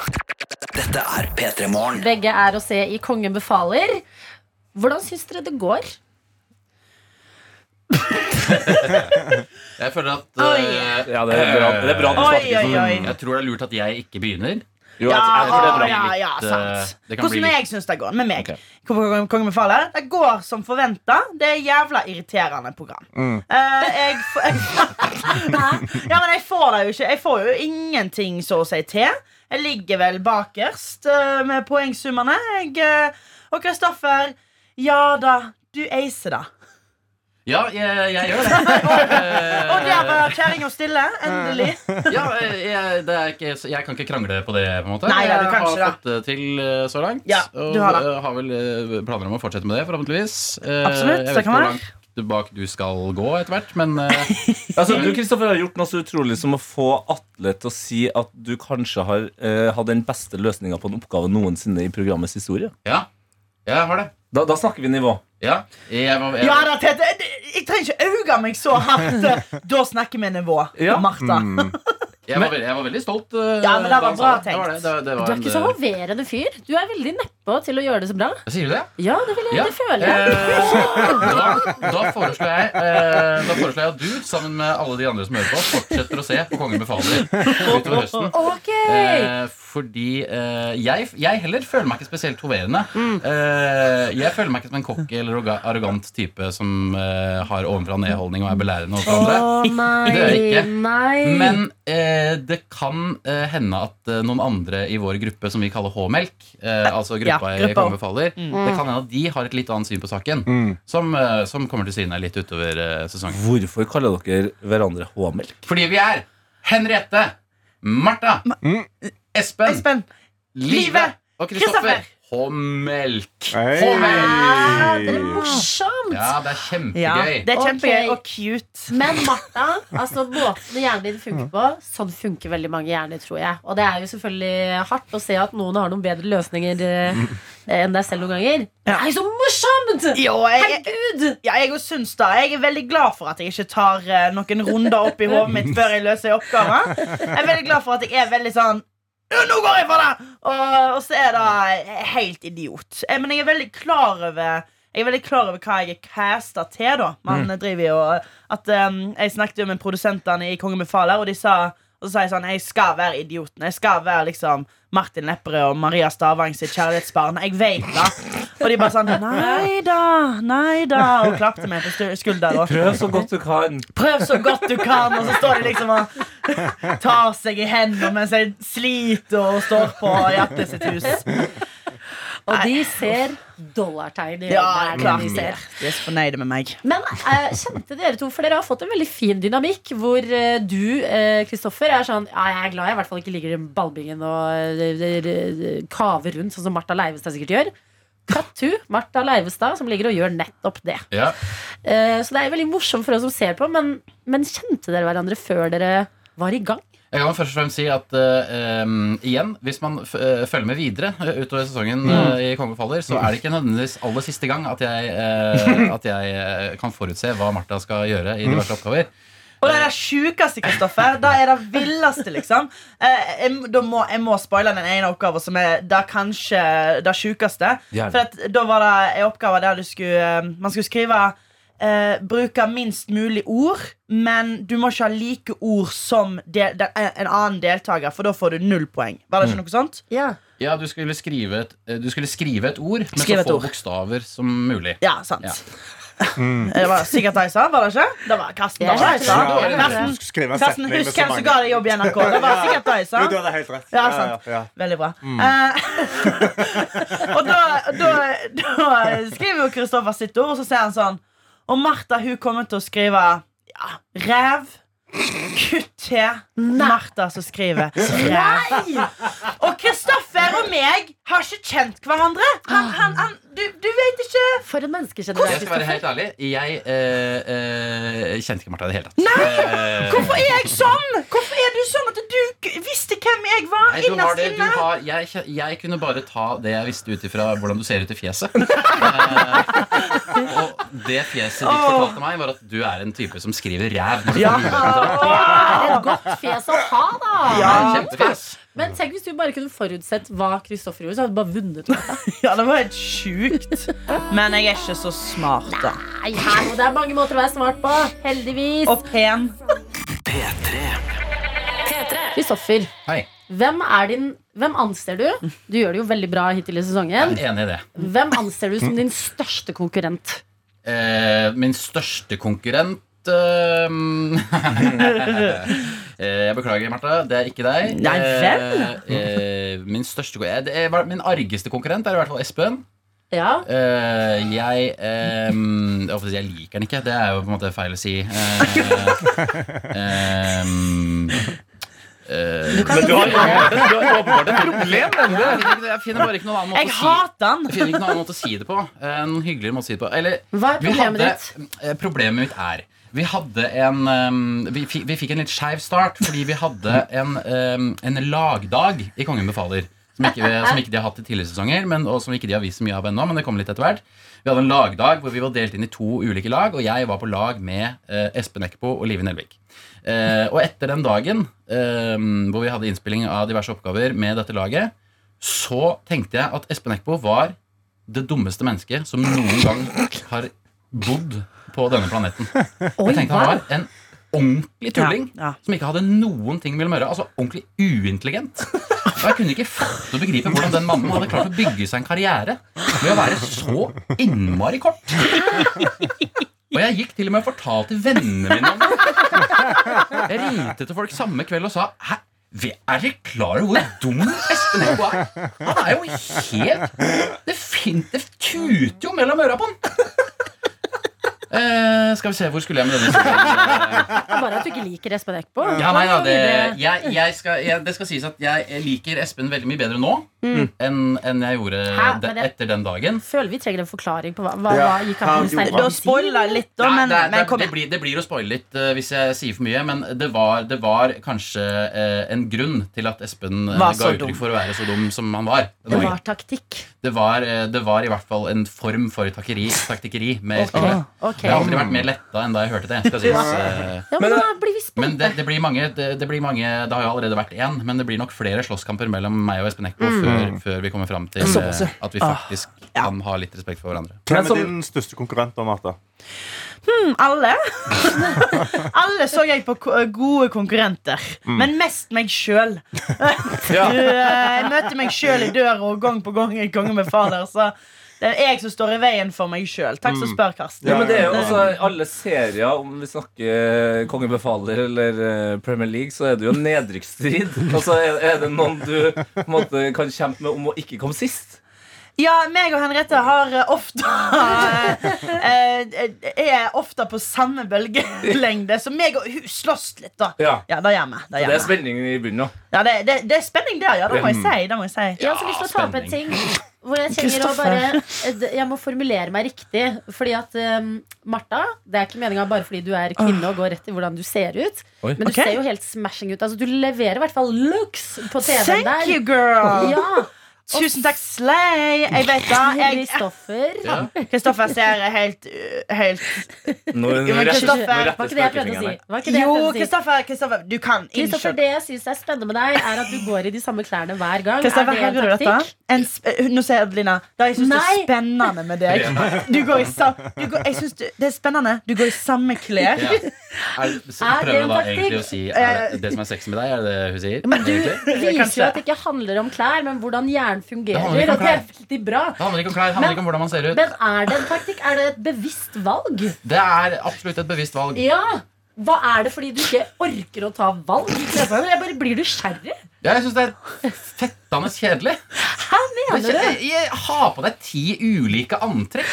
H: Dette er P3 Morgen.
B: Begge er å se i Kongen befaler. Hvordan syns dere det går?
F: Jeg føler at
G: Oi.
F: eh, mm,
C: Ja, det er bra, det er bra du
G: Oi,
C: svarte ikke
G: oi, oi.
C: sånn.
F: Jeg tror det er lurt at jeg ikke begynner.
C: Jo, jeg,
G: Ja,
C: jeg tror det er
G: ja,
C: bra.
G: ja,
F: bli
G: ja,
F: litt,
G: sant.
F: eh, det kan
G: Hvordan
F: bli litt-
G: jeg syns det går med meg.
F: Ok.
G: Kongen Kongen befaler. Det går som forventa. Det er jævla irriterende program. Eh, jeg, f- ja, men jeg får det jo ikke. Jeg får jo ingenting så å si til. Jeg ligger vel bakerst eh, med poengsummene. Jeg, eh, og Kristoffer, ja da, du acer det.
F: Ja, jeg, jeg gjør det. Eh,
G: Og der var kjerringa stille. Endelig.
F: ja, eh, jeg, det er ikke, så jeg kan ikke krangle på det, på en måte.
G: Nei, ja, du
F: jeg
G: kan
F: har
G: ikke det.
F: fått det til eh, så langt.
G: Ja,
F: og
G: du har det.
F: eh, har vel eh, planer om å fortsette med det, forhåpentligvis. Eh,
G: Absolutt,
F: Jeg
G: det
F: vet ikke
G: kan
F: hvor
G: være.
F: langt bak du skal gå etter hvert, men eh,
C: Altså, du Kristoffer, har gjort noe så utrolig som å få Atle til å si at du kanskje har eh, hatt den beste løsninga på en oppgave noensinne i programmets historie.
F: ja. Jeg har det.
C: Da, da snakker vi nivå.
F: Ja, jeg var, jeg,
G: Ja da, Tete. Jeg jeg trenger ikke auge meg så hardt. eh, Da snakker vi nivå.
C: Ja.
G: Martha.
D: Mm.
F: jeg, var, veldig, jeg var veldig stolt. eh,
G: Ja, men det
F: da
G: var
F: han
G: bra
F: sa det. Det var
G: tenkt.
F: det. Det- det var
B: Du er
F: en,
B: ikke så
F: eh,
B: hoverende fyr. Du er veldig nedpå til å gjøre det så bra.
F: Sier du det?
B: Ja, det vil jeg
F: Ja.
B: det føler jeg.
F: Eh, da, da, foreslår jeg, eh, da foreslår jeg at du, sammen med alle de andre som hører på, fortsetter å se på Kongen befaler utover høsten.
B: Ok!
F: Eh, fordi eh, jeg, jeg heller føler meg ikke spesielt hoverende. Eh, jeg føler meg ikke som en cocky eller arroga- arrogant type som eh, har ovenfra-ned-holdning og er belærende overfor andre.
B: Å nei,
F: Det er jeg ikke.
B: nei.
F: Men eh, det kan eh, hende at eh, noen andre i vår gruppe som vi kaller H-melk, eh, altså
G: Ja,
F: gruppa i
G: gruppa. Mm.
F: Kongen befaler, det kan hende at de har et litt annet syn på saken,
D: mm.
F: som, eh, som kommer til syne litt utover eh, sesongen.
C: Hvorfor kaller dere hverandre H-melk?
F: Fordi vi er Henriette, Martha, Espen,
G: Espen.
F: Live og
G: Kristoffer.
F: Kristoffer. på melk.
D: Hei.
B: Ja, det er morsomt!
F: Ja, det er
G: Ja,
F: kjempegøy.
G: det er kjempegøy
B: Ok.
G: og cute.
B: Men Martha, altså måten hjernen din funker på, sånn funker veldig mange hjerner, tror jeg. Og det er jo selvfølgelig hardt å se at noen har noen bedre løsninger eh, enn deg selv noen ganger. Det er jo så morsomt!
G: Jo, jeg,
B: Herregud!
G: ja, jeg også syns det. Jeg er veldig glad for at jeg ikke tar eh, noen runder opp i hodet mitt før jeg løser en oppgave. Jeg er veldig glad for at jeg er veldig sånn «Ja, nå går jeg for det! Og, og så er det helt idiot. Eh, Men jeg er veldig klar over jeg er veldig klar over hva jeg er casta til. da Man driver jo at, eh, Jeg snakket jo med produsentene i Kongen befaler, og de sa og så sa jeg sånn Jeg skal være idioten. Jeg skal være liksom Martin Lepperød og Maria Stavang sitt kjærlighetsbarn. Jeg vet det. Og de bare sånn Nei da, nei da. Og klapte meg på stu- skulderen. og
C: Prøv så godt du kan.
G: Prøv så godt du kan, og så står de liksom og tar seg i hendene mens jeg sliter og står på hjertet sitt hus.
B: Og de ser dollartegn i
G: Ja,
B: øynene. er det
G: klart
B: de ser.
G: De er så fornøyde med meg.
B: Men eh, kjente dere to, for dere har fått en veldig fin dynamikk Hvor eh, du, eh, Kristoffer, er sånn Ja, jeg er glad jeg i hvert fall ikke ligger i ballbingen Og eh, kaver rundt Sånn som Martha Leivestad sikkert gjør Cut to, Martha Leivestad Som ligger og gjør nettopp det
F: Ja.
B: Eh, Så det er veldig morsomt for oss som ser på Men, men kjente dere hverandre før dere var i gang?
F: Jeg kan først og fremst si at eh, em, igjen, hvis man f eh, følger med videre eh, utover
G: Mm.
F: sesongen eh, i Konge faller, så er det ikke nødvendigvis aller siste gang at jeg, eh, at jeg eh, kan forutse hva Martha skal gjøre
G: Mm.
F: i diverse oppgaver.
G: Og det er det sjukeste, Kristoffer. Det er det villeste, liksom. Eh, jeg, da må, jeg må spoile den ene oppgaven som er det kanskje det sjukeste.
C: Gjerne.
G: For at, da var det en oppgave der du skulle, eh, man skulle skrive eh, Bruke minst mulig ord, men du må ikke ha like ord som del, den, en annen deltaker, for da får du null poeng. Var det ikke noe sånt?
B: Ja,
F: Ja, du skulle skrive et, eh, du skulle skrive et ord, men
G: Skrive
F: så
G: et
F: få
G: ord.
F: bokstaver som mulig.
G: Ja, sant.
F: Ja.
G: Det var sikkert det jeg sa, var det ikke? Det var Karsten.
B: Ja,
G: Det var jeg sa.
B: ja, ja.
G: Karsten,
D: Skulle skrive en
G: Karsten,
D: setning med
G: husk
D: så
G: hvem som
D: mange.
G: ga deg jobb i NRK. Det var sikkert det jeg sa.
D: Jo, du hadde helt rett.
G: Ja, sant.
D: ja, ja.
G: Veldig bra. Eh, og da, da, da skriver jo Kristoffer sitt ord, og så sier han sånn Og Martha hun kommer til å skrive ja, ræv. Kutt til Martha som skriver ræv. Og Kristoffer og meg har ikke kjent hverandre. Han, han, han, du, du vet ikke
B: for en menneske
F: Jeg skal være helt ærlig. Jeg eh, eh, kjente ikke Martha i det hele tatt. Eh,
G: Hvorfor er jeg sånn? Hvorfor er du sånn at du k- visste hvem jeg var
F: Nei, du har
G: innerst
F: det, du
G: inne?
F: har, jeg, kje- jeg kunne bare ta det jeg visste ut ifra hvordan du ser ut i fjeset. Eh, og det fjeset ditt
G: Åh.
F: fortalte meg, var at du er en type som skriver ræv.
G: Ja.
B: Et godt fjes å ha da
F: Kjempefjes.
B: Men tenk hvis du bare kunne forutsett hva Kristoffer gjorde Så hadde du bare vunnet
G: Ja, det var helt sjukt. Men jeg er ikke så smart, da.
B: Nei, her, og det er mange måter å være smart på Heldigvis
G: Og pen.
I: P3.
B: Kristoffer,
F: Hei.
B: hvem, er din, hvem anser du Du gjør det jo veldig bra hittil i sesongen.
F: Jeg er enig i det.
B: Hvem anser du som din største konkurrent?
F: Eh, min største konkurrent eh, eh, Jeg beklager, Martha. Det er ikke deg.
G: Nei,
F: Eh, eh, min største kon- eh, det er, hva- Min argeste konkurrent er i hvert fall Espen.
B: Ja,
F: Eh, jeg ehm, jeg, håper å si jeg liker den ikke. Det er jo på en måte feil å si. Eh, ehm, eh,
C: Men du har du har åpenbart et problem. men
F: jeg, vet ikke, jeg finner bare ikke noen annen måte
G: Jeg
F: å si
G: hater han.
F: jeg finner ikke noen annen måte å si det på. Eh, Noen hyggeligere måte å si det på. Eller,
B: Hva er
F: vi
B: problemet
F: eh, Problemet mitt er vi hadde en ehm, vi, fikk, vi fikk en litt skeiv start fordi vi hadde en, ehm, en lagdag i Kongen befaler. Som ikke, som ikke de har hatt i tidligere sesonger, men, og som ikke de har vist så mye av ennå. Men det kommer litt etter hvert Vi hadde en lagdag hvor vi var delt inn i to ulike lag, og jeg var på lag med eh, Espen Eckbo og Live Nelvik. Eh, og etter den dagen eh, hvor vi hadde innspilling av diverse oppgaver med dette laget, så tenkte jeg at Espen Eckbo var det dummeste mennesket som noen gang har bodd på denne planeten.
B: Oi,
F: Jeg tenkte han var en ordentlig tulling
G: Ja, ja.
F: som ikke hadde noen ting mellom øra. Altså ordentlig uintelligent. Og jeg kunne ikke fatte og begripe hvordan den mannen hadde klart å bygge seg en karriere ved å være så innmari kort. Og jeg gikk til og med og fortalte vennene mine om det. Jeg ringte til folk samme kveld og sa Hæ? vi- Er dere klar over hvor dum Espen Eckbo er? Han er jo helt Det, fin, det tuter jo mellom øra på han. Eh, skal vi se, hvor skulle jeg med denne historien?
B: Bare at du ikke liker Espen Eckbo.
F: Ja, nei da, det, jeg, jeg skal, jeg, det skal sies at jeg liker Espen veldig mye bedre nå
G: Mm.
F: enn enn jeg gjorde
J: Hæ?
F: de,
J: Men det-
F: etter den dagen.
J: Føler vi trenger en forklaring på hva, hva,
D: Ja,
J: hva gikk av
D: han
J: på den
D: gjorde
G: Du
J: sterke
G: har
J: siden.
G: spoila litt, da,
F: Nei,
G: men,
F: det, er- det,
G: men
F: er-
G: kom
F: det,
G: igjen.
F: blir, det blir å spoile litt eh, hvis jeg sier for mye, men det var, det var kanskje eh, en grunn til at Espen eh,
G: Var
F: ga
G: så dum.
F: uttrykk for å være så dum som han var.
J: Det
F: Det var,
J: var taktikk.
F: det var, eh, det var i hvert fall en form for takkeri, taktikkeri med
J: Ok.
F: spillet.
J: ok.
F: Jeg har aldri vært mer letta enn da jeg hørte det. Skal sies. eh,
J: Ja, men,
C: Men-
J: da blir vi spurt.
F: Men det, det blir mange, det, det blir mange Det har jo allerede vært én, men det blir nok flere slåsskamper mellom meg og Espen Eckbo
B: Mm.
F: før, før vi kommer fram til
J: Såpass, ja.
B: sånn-
F: eh,
B: Ah,
F: at vi faktisk kan ha litt respekt for hverandre.
D: Hvem
C: Men
D: er
C: som-
D: din største konkurrent, da, Martha?
G: Mm, Alle. Alle så jeg på ko- gode konkurrenter, men mest meg sjøl. Jeg møter meg sjøl i døra og gang på gang i Kongen befaler. Så det er jeg som står i veien for meg sjøl. Takk som spør, Karsten.
C: Ja, men det er jo også alle serier, om vi snakker Kongen befaler eller eh, Premier League, så er det jo en nedrykksstrid. Altså, er, er det noen du på en måte, kan kjempe med om å ikke komme sist?
G: Ja, meg og Henriette har eh, ofte eh, Er ofte på samme bølgelengde, så meg og hun slåss litt, da.
C: Ja.
G: Ja, det gjør vi. Det,
C: Det
G: gjør
C: er
G: vi.
C: spenning i bunnen òg.
G: ja, det, det, det er spenning der, ja. Det må jeg si. Det må jeg si.
B: Jeg har så lyst til å ta opp en ting hvor jeg trenger å
G: Kristoffer.
B: bare eh, Jeg må formulere meg riktig. Fordi at um, Martha, det er ikke meninga bare fordi du er kvinne og går rett i hvordan du ser ut.
C: Oi.
B: Men du
G: Ah. Ok.
B: ser jo helt smashing ut. Altså, du leverer i hvert fall looks på TV-en
G: Thank
B: der.
G: you, girl!
B: Ja,
G: Tusen takk, Slay! Jeg vet det. Jeg,
B: Kristoffer.
F: Ja.
G: Kristoffer ser helt, uh, helt
C: Nå
G: Jo, men
C: retter-
G: Kristoffer,
C: nå retter
B: Var ikke det jeg prøvde å si?
C: spøkefingeren her.
B: Var ikke det jeg
G: Jo,
B: prøvde å si?
G: Kristoffer, Kristoffer, du kan.
B: Kristoffer,
G: Unnskyld.
B: det jeg syns er spennende med deg, er at du går i de samme klærne hver gang.
G: Kristoffer,
B: er det
G: hører
B: en
G: du dette?
B: taktikk?
G: En sp eh, nå sier Adelina Det jeg synes det er
B: Nei.
G: spennende med deg. Du går i sam du går, jeg synes du, det er spennende. Du går i samme klær.
F: Ja. Er, så
B: Er det
F: prøver
B: en
F: hun da
B: taktikk? Eh,
F: egentlig å si er det, det som er sexy med deg, er det det hun sier?
B: Men du
F: egentlig?
B: viser
G: Kanskje.
B: jo at det ikke handler om klær, men hvordan hjernen fungerer.
F: handler ikke om
B: Og det er veldig bra.
F: Det handler ikke om klær, det handler ikke om hvordan man ser ut.
B: Men er det en taktikk? Er det et bevisst valg?
F: Det er absolutt et bevisst valg.
B: Ja. Hva er det fordi du ikke orker å ta valg? i klesvalg? Jeg bare blir nysgjerrig.
F: Jeg syns det er fettende kjedelig.
B: Mener
F: Det er
B: du?
F: kje- jeg- Ha på deg ti ulike antrekk.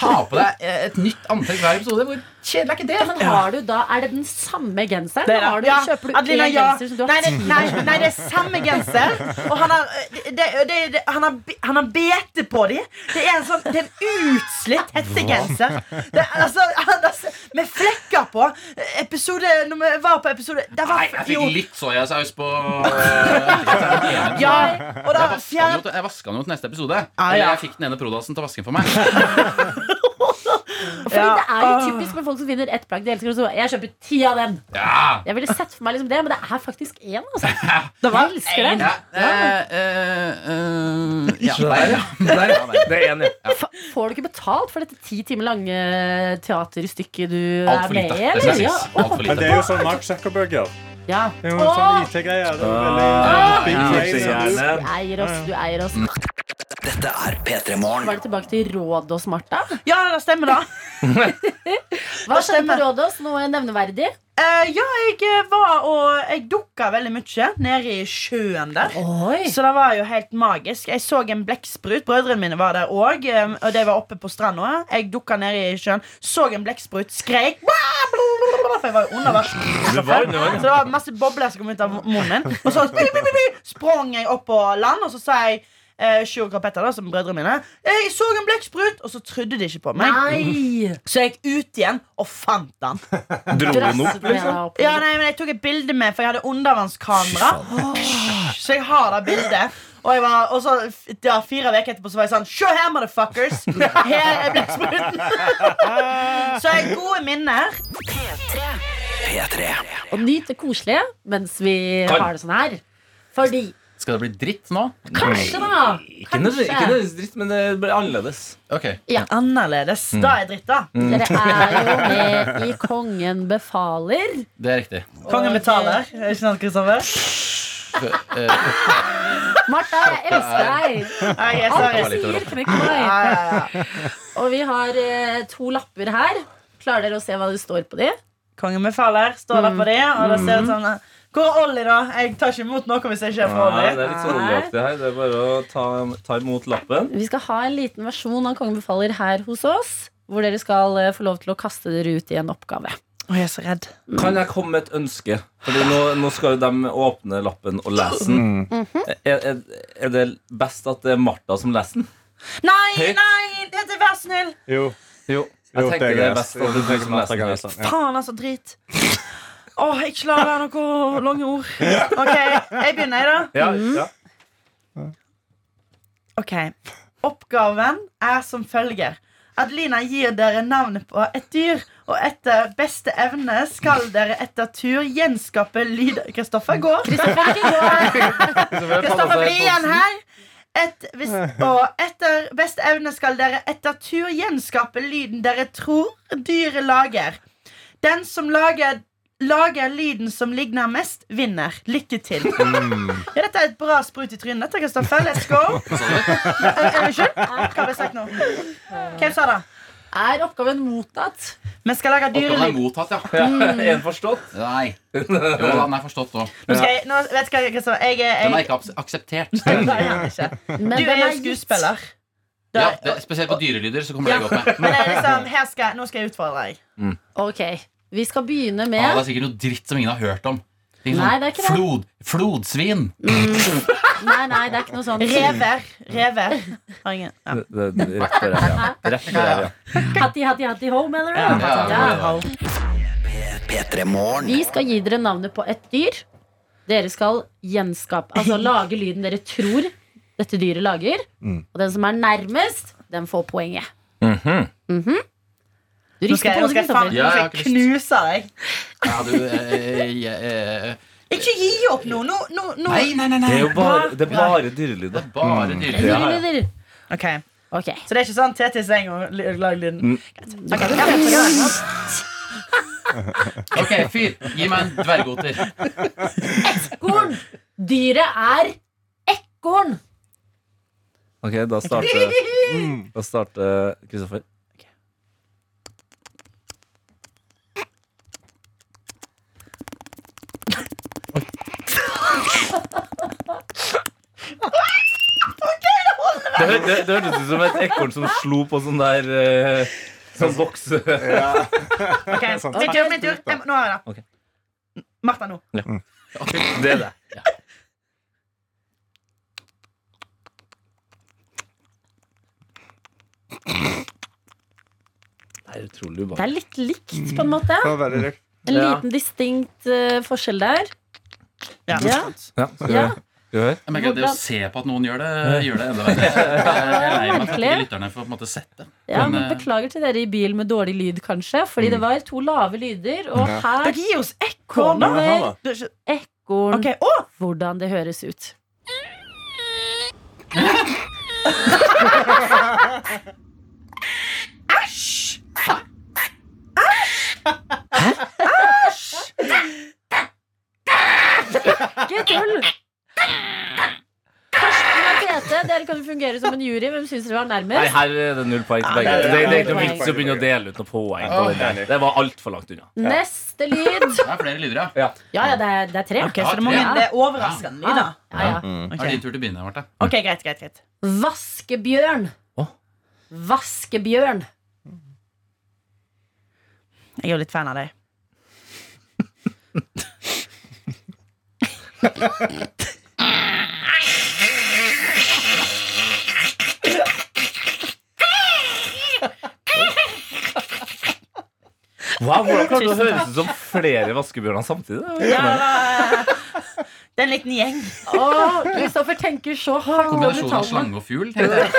F: Ha på deg eh, et nytt antrekk hver episode. Hvor kjedelig er ikke det?
B: Ja, men har du da, Er det den samme genseren?
G: Det er det.
B: Har du,
G: Ja,
B: Kjøper du
G: Adelina,
B: én
G: ja.
B: genser som du
G: Nei,
B: har
G: det, nei, nei, det er samme genser. Og han har, eh, det, det, det, han har, bi- han har bete på dem. Det er en sånn det er en utslitt hettegenser. Det er Altså, han- altså, med flekker på. Episode Når vi var på episode Det var
F: Nei, jeg
G: jo,
F: fikk litt soyasaus på eh,
G: Ja, og da
F: Jeg vaska den
G: fjern
F: jo til- jeg vaska den jo til neste episode.
G: Ah,
F: Eller
G: ja.
F: jeg fikk den ene prodasen til å vaske den for meg.
B: Fordi Det er jo typisk med folk som vinner ett plagg de elsker. Og så jeg kjøper ti av dem.
F: Ja!
B: Jeg ville sett for meg liksom det, men det er faktisk én. Altså.
G: var
B: Jeg elsker den.
F: Ja, eh, eh, eh, ja, der, ja. Der, ja, der.
C: Det er en, ja.
B: Fa- Får du ikke betalt for dette ti timer lange teaterstykket du
F: Alt for
B: er med
F: lite.
B: i?
F: Det synes
B: Eller?
F: jeg.
B: Ja.
F: Alt for
D: Men det
F: lite.
D: er jo sånn Mark Zuckerberger.
B: ja.
D: Det er jo en sånn IT-greie. Det er jo veldig big brain, sant?
C: Hjertehjerne.
B: Du eier oss, du eier oss.
K: Dette er P3 Morgen.
B: Var det tilbake til Rådås, Martha?
G: Ja, det stemmer, da.
B: Hva skjedde
G: stemmer.
B: på Rådås? Noe nevneverdig?
G: Eh, ja, jeg eh, var og Jeg dukka veldig mye nede i sjøen der.
B: Oi.
G: Så det var jo helt magisk. Jeg så en blekksprut. Brødrene mine var der òg. Og de var oppe på stranda. Jeg dukka ned i sjøen, så en blekksprut, skreik For jeg var jo under vann. Så det var masse bobler som kom ut av munnen min. Og så sprang jeg opp på land, og så sa jeg eh, Sjur og Karl Petter, da, som brødrene mine, jeg så en blekksprut, og så trodde de ikke på meg.
B: Nei!
G: Så jeg gikk ut igjen og fant den.
C: Dro den
B: Drasset
C: opp,
B: med deg
C: liksom?
B: opp.
G: Ja, nei, men Jeg tok et bilde med, for jeg hadde undervannskamera. Så jeg har det bildet. Og, jeg var, og så f- ja, fire uker etterpå så var jeg sånn Se her, motherfuckers! Her er blekkspruten! så jeg har gode minner.
K: P3.
B: Og nyt det koselige mens vi
C: Kan.
B: har det sånn her. Fordi
F: Skal det bli dritt nå?
B: Kanskje, da!
C: Ikke nødvendigvis ikke
B: Kanskje.
C: nødvendigvis dritt, men det blir annerledes.
F: Ok
G: Annerledes.
C: Mm.
G: Da er jeg dritt, da.
B: Dere er jo med i Kongen befaler.
F: Det er riktig.
G: Kongen betaler. Er Ikke sant, Kristoffer?
B: Martha, jeg elsker deg!
G: Nei, jeg er
B: Alt
G: seriøs.
B: du sier, knekker meg.
G: Ja, ja, ja.
B: Og vi har eh, to lapper her. Klarer dere å se hva det står på de?
G: Kongen befaler. Står der på det, og da ser det ut sånn Hvor er Ollie, da? Jeg tar ikke imot noe hvis jeg ikke er fra
C: Mm. Nei, det
G: Ollie.
C: er litt sånn oljeaktig her. Det er bare å ta, ta imot lappen.
B: Vi skal ha en liten versjon av Kongen befaler her hos oss. Hvor dere skal eh, få lov til å kaste dere ut i en oppgave.
G: Å, jeg er så redd.
C: Kan jeg komme med et ønske? Fordi nå, nå skal jo de åpne lappen og lese den. er, er, er det best at det er Martha som leser den?
G: Nei,
C: Høyt.
G: nei, dette, vær så snill!
D: Jo.
C: Jo.
D: Jo,
C: Jeg
D: det er
C: tenker det er
D: greit.
C: best at det er du som leser den.
D: Ja.
G: Faen, altså, drit. Å, jeg klarer noen lange ord. OK, jeg begynner, jeg, da.
C: Ja, ja.
G: Ok, Oppgaven er som følger. Adelina gir dere navnet på et dyr, og etter beste evne skal dere etter tur gjenskape lyd... Kristoffer går. Kristoffer, bli igjen her. Et, hvis, og etter beste evne skal dere etter tur gjenskape lyden dere tror dyret lager. Den som lager, lager lyden som ligner mest, vinner. Lykke til. Ja, dette er et bra sprut i trynet. Dette, Kristoffer. Let's go. Nei, eh, Unnskyld? Hva har jeg sagt nå? Hvem sa det?
B: Er oppgaven mottatt?
G: Vi skal lage
F: Oppgaven er
G: dyrelyd.
F: mottatt, ja.
C: Ja, er den forstått?
F: Nei. Jo, den er forstått òg.
G: Nå skal jeg, nå, vet du hva, Kristoffer? Jeg er
F: Den er
G: jeg,
F: ikke abs- akseptert.
G: Nei, jeg er ikke. Du
B: Men den
G: er jo
B: gitt.
G: skuespiller. Du
F: Ja,
G: er-
F: det, spesielt på dyrelyder så
G: Ja.
F: kommer det godt med.
G: Men det er liksom, her skal, jeg- nå skal jeg utfordre deg.
B: Ok, vi skal begynne med
F: Ah, det er sikkert noe dritt som ingen har hørt om. Ting
B: Nei,
F: sånn
B: det er ikke det.
F: Flod, flodsvin.
B: Nei, nei, det er ikke noe sånt.
G: Rever. Rever. Har ingen. Ja.
C: Det, det, rett på ræva. Rett på ræva.
B: Hatti, hatti, hatti, home, eller?
G: Ja,
F: hatti, hatti,
L: P3 Morgen.
B: Vi skal gi dere navnet på et dyr. Dere skal gjenskape Altså lage lyden dere tror dette dyret lager.
G: Mm.
B: Og den som er nærmest, den får poenget. Mhm. Du
G: Nå skal jeg,
B: rister på
G: nå skal
B: hodet,
G: jeg, faen-
B: Kristoffer.
F: Ja,
G: nå
F: jeg har
G: skal
F: ikke
G: jeg
F: lyst.
G: knuse deg.
F: Ja, du eh, jeg, eh,
G: Ikke gi opp nå. Nå, nå, nå.
F: Nei, nei,
C: Det
F: nei. nei.
C: er jo bare, det er bare dyrelyder.
F: Det er bare dyrelyder.
C: Ja, ja.
B: Dyrelyder.
G: Ok,
B: Ok.
G: Så det er ikke sånn Tete i seng og l- lag
F: Mm.
G: lyden. Ok, ja,
F: Ok, fyr. Gi meg en dvergoter.
B: Ekorn. Dyret er ekorn.
C: Ok, Mm. da starter Da starter Kristoffer. Det hø- det- det hørtes ut som et ekorn som slo på sånn der eh, Sånn boks.
G: Ok,
B: Sånn.
D: sant.
G: Min tur, min tur. Jeg, må- nå har jeg det.
C: Ok.
G: Martha, nå.
C: Det er det. Det er utrolig
B: Det er
C: ubehagelig.
B: litt likt, på en måte.
D: Det var veldig likt.
B: En
C: Ja.
B: liten distinkt eh, forskjell der.
G: Ja.
B: Ja.
C: Ja, skal vi-
B: Ja.
C: skal vi høre?
F: Jeg merker at Det å
B: Hvordan-
F: se på at noen gjør det, gjør det enda verre. Jeg er lei meg for at ikke
B: Merkelig.
F: lytterne får på en måte sett det.
B: Ja,
F: Men,
B: men
F: eh,
B: Beklager til dere i bil med dårlig lyd, kanskje. Fordi det var to lave lyder, og
D: Ja.
B: her
G: Dere gir oss ekorn, da.
B: kommer
G: Det er ikke-
B: ekorn.
G: Ok, å!
B: Hvordan det høres ut. Æsj! Ikke tull! Karsten og Tete, dere kan jo fungere som en jury. Hvem syns dere var
C: Nei,
B: nærmest?
C: her er det null poeng til begge.
D: det er-
C: Det, det er ikke
B: null
C: noe
B: poeng.
C: vits i å begynne å dele ut noe poeng. På den der. Det var altfor langt unna.
B: Neste lyd.
F: Det er flere lyder, ja.
B: Ja, ja, det er, det er tre.
G: Ok, så det, må,
F: Ja.
G: det er overraskende lyd, da.
B: Ja, ja.
F: Det er din tur til å begynne, Marte.
G: Ok, greit, greit, greit.
B: Vaskebjørn.
C: Åh.
B: Vaskebjørn.
G: Jeg er jo litt fan av deg.
C: Wow, Hvordan klarte du å høres ut som flere vaskebjørner samtidig?
G: Det er en liten gjeng.
B: Åh, Kristoffer tenker så hardt på
F: Kombinasjon av
B: detaljene.
F: slange og fugl. tenkte jeg.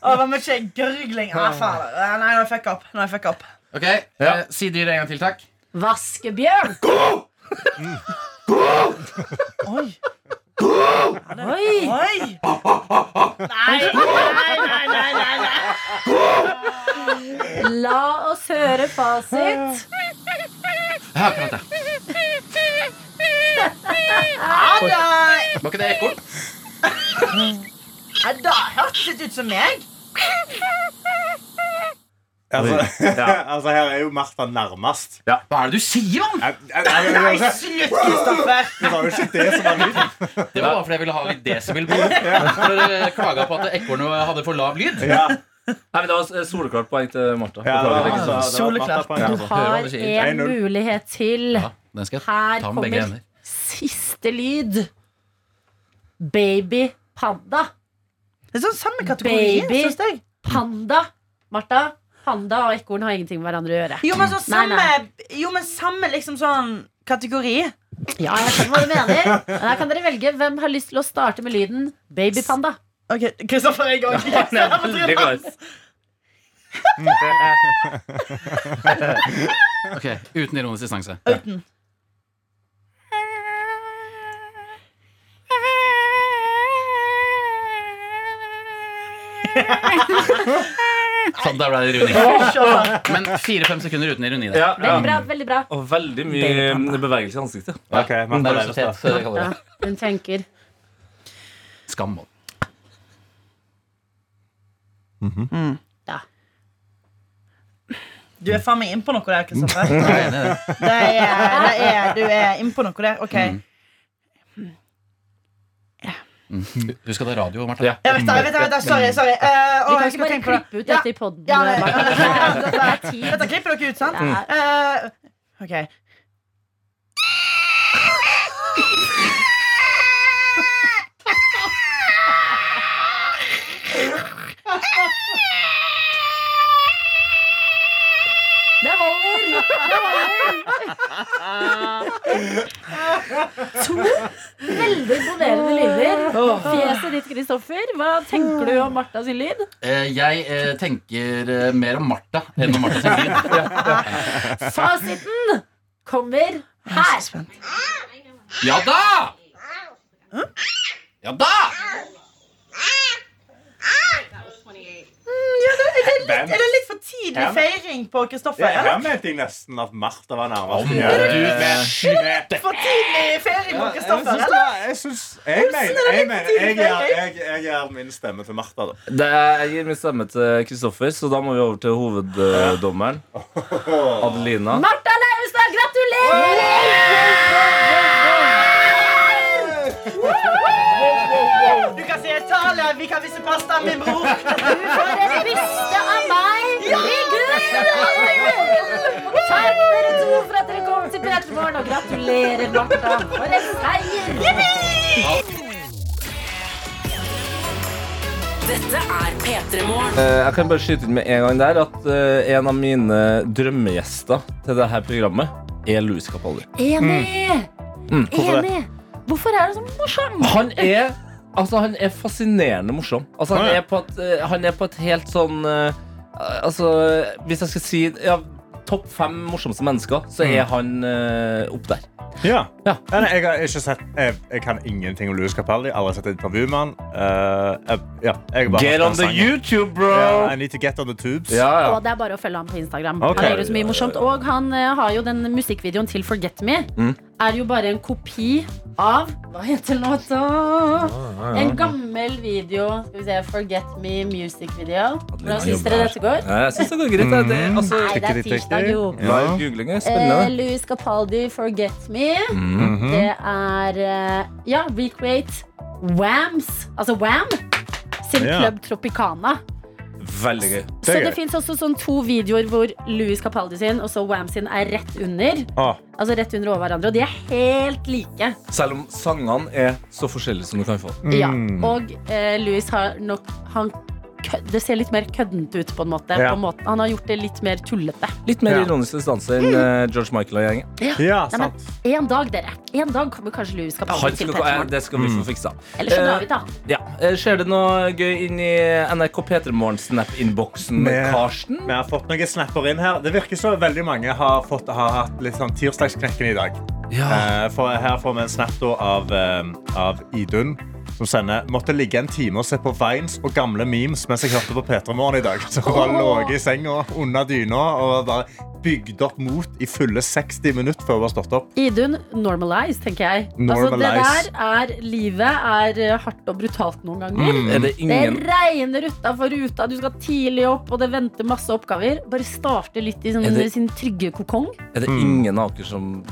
G: Å, hva mye gørgling. Ah, faen. Ah, Nei, nå fuck up. Nå er jeg fuck up.
F: Ok, eh, Si dyret en gang til, takk.
B: Vaskebjørn.
G: Oi.
B: Oi.
G: Oi! Nei, nei, nei, nei, nei, nei.
B: La oss høre fasit.
F: Ja, akkurat det.
G: Ja, da.
F: Var ikke det ekorn?
G: Ja, da hørtes det ut som meg.
D: Altså,
C: Ja.
D: altså, her er jo Martha nærmest.
F: Hva er det du sier, mann?
D: Jeg, jeg, jeg, jeg, jeg,
G: Slutt, Kristoffer.
D: det var jo ikke det som var lyden.
F: eh, Det var bare fordi jeg ville ha litt desibel på det. For dere klaga på at ekornet hadde for lav lyd.
D: Ja.
C: Nei, men Det var et soleklart poeng til Martha.
D: Ja, det var- det var- det
C: Beklager.
D: var- det var-
G: Soleklart.
D: det var- det var-
F: Du Hører hva
B: Har
F: du sier.
B: en
D: 1-0.
B: mulighet til.
F: Ja, den skal jeg
B: Her
F: ta med
B: kommer
F: begge hender.
B: siste lyd. Baby panda.
G: Det er sånn samme kategori,
B: Baby.
G: syns jeg.
B: Panda. Martha, panda og ekorn har ingenting med hverandre å gjøre.
G: Jo, men så
B: Nei,
G: samme,
B: nei.
G: jo, men samme liksom sånn kategori.
B: Ja, jeg skjønner hva du mener. Men her kan dere velge hvem har lyst til å starte med lyden babypanda.
G: Ok, Kristoffer er i gang.
C: Beklager.
F: Ok, Uten ironisk distanse.
G: Uten.
F: Sånn, der ble det ironi. Men fire-fem sekunder uten ironi. Der.
C: Ja,
B: Veldig
C: ja.
B: bra. veldig bra
C: Og veldig mye bevegelse i ansiktet.
D: Ok, men det er det
F: Nervøsitet. det kaller jeg det.
B: Hun tenker
F: Skam.
G: Du er faen meg innpå noe der, Kristoffer.
F: Jeg er enig i det.
G: Det er, det er, du er innpå noe der. Ok.
F: Mm. Husk at det er radio, Martha.
C: Ja.
G: Jeg vet det, jeg vet det, jeg vet det. Sorry. sorry. Eh,
B: Vi
G: å,
B: kan
G: jeg
B: ikke
G: skal
B: bare
G: tenke på det.
B: klippe ut
G: Ja.
B: dette i poden.
G: Ja, det, det,
B: Martha.
G: det, det,
B: Det er tid.
G: Dette klipper dere ut, sant?
B: Ja.
G: Eh, ok
B: Det holder! Det holder. To veldig imponerende lyder. Fjeset ditt, Kristoffer. Hva tenker du om Martha sin lyd?
F: Eh, Jeg eh, tenker eh, mer om Martha enn om Martha sin lyd.
B: Fasiten kommer
G: Jeg er
B: her.
G: så spent.
F: Ja da! Ja da!
D: Hvem-
G: Er det litt for tidlig
D: Ja, men-
G: feiring på Kristoffer?
D: Ja,
G: eller?
D: Her mente jeg nesten at Martha var nærmest.
F: Om
D: Ja,
F: du
D: du vet, du vet.
G: For tidlig feiring på
D: Jeg syns
G: Kristoffer?
D: det
G: eller?
D: var- jeg syns- jeg mener jeg mener- jeg gir- jeg- jeg gir min stemme til Martha, da.
C: Det er, jeg gir min stemme til Kristoffer, så da må vi over til hoveddommeren. Adelina.
B: Martha Leivestad, gratulerer!
G: Du kan si Italia, vi kan vise pasta, min bror.
B: Du får en byste av meg i gull! Takk dere to for at dere kom til P3 Morgen, og gratulerer, Martha, for en seier!
A: Dette er P3 Morgen.
C: Eh, Jeg kan bare skyte inn med en gang der at eh, en av mine drømmegjester til dette programmet er Louis Capaldi.
B: Enig!
C: Mm, hvorfor det?
B: Enig! Hvorfor er det så morsomt?
C: Han er, altså, han er fascinerende morsom. Altså, han,
D: Ja, ja.
C: er på et, eh, han er på et helt sånn eh, Altså, hvis jeg skal si ja, topp fem morsomste mennesker, så er
D: Mm.
C: han eh, opp der.
D: Ja.
C: Ja.
D: Nei, nei, jeg har ikke sett Jeg, jeg kan ingenting om Louis Capaldi. Aldri sett et intervju med han. Eh, jeg, ja, jeg bare har hørt den sangen.
C: YouTube, bro!
D: Ja, I need to get on the tubes.
C: Ja, ja.
B: Og det er bare å følge ham på Instagram.
D: Ok.
B: Han gjør det så mye morsomt Og han eh, har jo den musikkvideoen til Forget Me.
C: Mm.
B: Er jo bare en kopi av Hva heter låta?
C: Ah,
B: En gammel video. Skal vi se, Forget Me music video. Hvordan syns dere dette går?
C: Nei, Jeg syns det går greit. Det, det, altså,
B: Nei, det er tirsdag, jo.
C: Live googling er
B: Eh,
C: spennende.
B: Louis Capaldi, Forget Me.
D: Mhm.
B: Det er eh, Ja, Recreate Whams. Altså Wham sin
D: Ja.
B: Club Tropicana.
C: Veldig gøy.
D: Det
B: Så
D: er
B: det
D: gøy.
B: fins også sånn to videoer hvor Louis Capaldi sin og så Wham sin er rett under.
D: Ah,
B: Altså rett under over hverandre, og de er helt like.
C: Selv om sangene er så forskjellige som du kan få.
D: Mm.
B: Ja. Og eh, Louis har nok han, kø- Det ser litt mer køddent ut, på en måte.
D: Ja.
B: På en måte. Han har gjort det litt mer tullete.
C: Litt mer
D: Ja.
C: ironisk distanse enn eh, George Michael og gjengen.
D: ja,
B: Nei, men
D: sant.
B: én dag, dere. En dag kommer kanskje Louis Capaldi
C: Han
B: til
C: skal, eh,
B: Petermorgen.
C: det skal
D: Mm.
C: vi få fiksa.
B: Eller så
C: eh,
B: drar vi, da.
C: Ja. Eh, Skjer det noe gøy inn i NRK P3 Morgen-snap-innboksen med
D: Med-
C: Karsten?
D: Vi har fått noen snapper inn her. Det virker som veldig mange har, fått, har hatt litt sånn tirsdagsknekken i dag. Eh, for her får vi en snap da av, eh, av Idun. Som sender Måtte ligge en time og se på Vines og gamle memes mens jeg hørte på P3 Morgen i dag. Så hun bare lå i senga under dyna og bare bygde opp mot i fulle 60 minutter før hun var stått opp.
B: Idun, normalize, tenker jeg. Altså,
D: Normalize.
B: det der er Livet er eh, hardt og brutalt noen ganger.
D: Mm,
C: Er det
B: Det
C: ingen
B: regner utafor ruta, du skal tidlig opp, og det venter masse oppgaver. Bare starte litt i sånn,
C: Er det-
D: Mm.
B: sin trygge kokong.
C: Er det ingen av dere som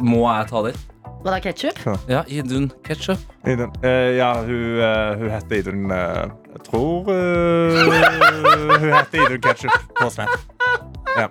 C: Må jeg ta det?
B: Hva da, ketsjup?
C: Ja, Idun Ketchup.
D: Idun. Eh, ja, hun, eh, hun heter Idun eh, Jeg tror eh, hun heter Idun Ketchup på Snap. Ja.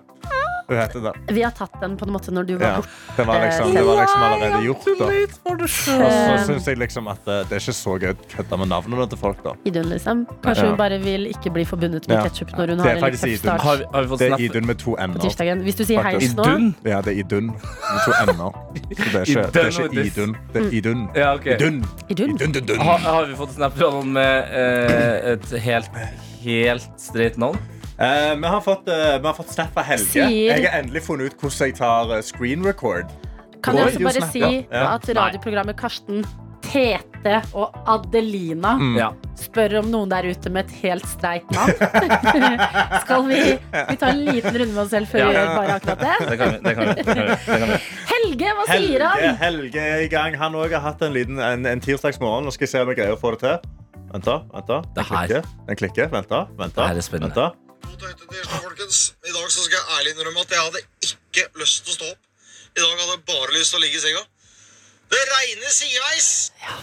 D: Hun heter det.
B: Vi har tatt den på en måte når du var
D: Ja.
B: borte.
D: Det var liksom, det var liksom allerede gjort, da. Og så
B: Eh,
D: syns jeg liksom at eh, det er ikke så gøy å kødde med navnene til folk, da.
B: Idun, liksom. Kanskje
D: Ja.
B: hun bare vil ikke bli forbundet med
D: Ja.
B: ketsjup når hun
D: Det er
B: har en litt
D: faktisk
B: tøff
D: Idun.
B: start
C: Har, vi- har vi fått
D: Det er
C: snap?
D: Idun med to
B: på
D: n-er.
B: tirsdagen. Hvis du sier heis
D: Faktisk.
B: nå
C: Idun?
D: Ja, det er Idun med to n-er. Så det er ikke, det er ikke Idun. Det er Idun.
C: Ja, ok.
D: Idun.
B: Idun.
D: Idun, dun, dun.
C: Har, har vi fått snap fra noen med eh, et helt, helt streit navn?
D: Eh, vi, har fått, eh, vi har fått snap av Helge.
B: Sier-
D: Jeg har endelig funnet ut hvordan jeg tar eh, screen record.
B: Kan jeg
D: Oi,
B: også
D: jo,
B: bare
D: snap,
B: si
D: ja. Ja.
B: at radioprogrammet Karsten, Tete og Adelina
C: Ja.
B: spør om noen der ute med et helt streit navn? Skal vi, vi ta en liten runde med oss selv før
C: Ja.
B: vi gjør bare akkurat det?
C: Det kan vi. Det kan vi, det kan vi, det kan vi.
B: Helge, hva sier
D: Helge,
B: han?
D: Helge er i gang. Han også har hatt en, liten, en, en tirsdagsmorgen. Nå skal jeg se om jeg greier å få det til. Vent, da. vent da. Den
C: Det her.
D: klikker. Den klikker. Vent, da. Vent,
C: Det her er
D: da.
C: spennende.
D: Vent da.
M: God dag til tirsdag, folkens. I dag så skal jeg ærlig innrømme at jeg hadde ikke lyst til å stå opp. I dag hadde jeg bare lyst til å ligge i senga. Det regner sideveis.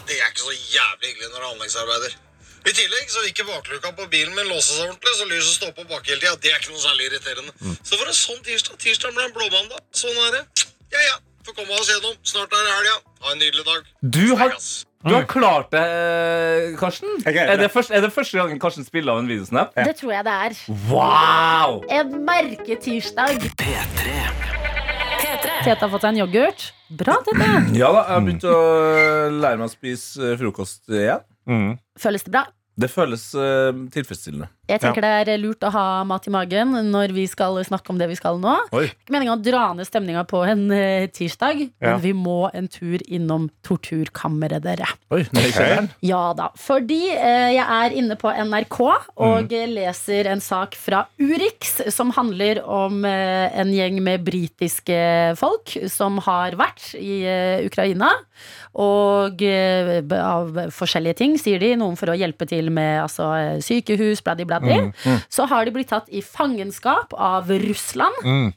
M: Det er ikke så jævlig hyggelig når du er anleggsarbeider. I tillegg så vil ikke bakluka på bilen min låse seg ordentlig, så lyset står på bak hele tida. Det er ikke noe særlig irriterende.
N: Mm.
M: Så for en sånn tirsdag Tirsdag ble en blåmandag. Sånn er det. Ja, ja. Får komme oss gjennom. Snart er det helga. Ha en nydelig dag.
C: Du har,
M: Ass.
C: du har klart det, eh, Karsten.
D: Jeg greier
C: Er det,
D: det.
C: første, er det første gangen Karsten spiller av en videosnap?
B: Det tror jeg det er.
C: Wow!
B: En merketirsdag. Tete har fått seg en yoghurt. Bra, Tete.
C: Ja da, jeg har begynt å lære meg å spise eh, frokost igjen.
D: Mm.
B: Føles det bra?
C: Det føles eh, tilfredsstillende.
B: Jeg tenker det er lurt å ha mat i magen når vi skal snakke om det vi skal nå.
C: Oi.
B: Det er Ikke meningen å dra ned stemninga på en eh, tirsdag,
D: Ja.
B: men vi må en tur innom torturkammeret, dere.
C: Oi, nå gikk jeg der.
B: Ja da. Fordi eh, jeg er inne på NRK og eh, leser en sak fra Urix som handler om eh, en gjeng med britiske folk som har vært i eh, Ukraina. Og eh, b- av forskjellige ting, sier de. Noen for å hjelpe til med altså, eh, sykehus, bladdi, bladdi. Så har de blitt tatt i fangenskap av Russland.
D: Mm.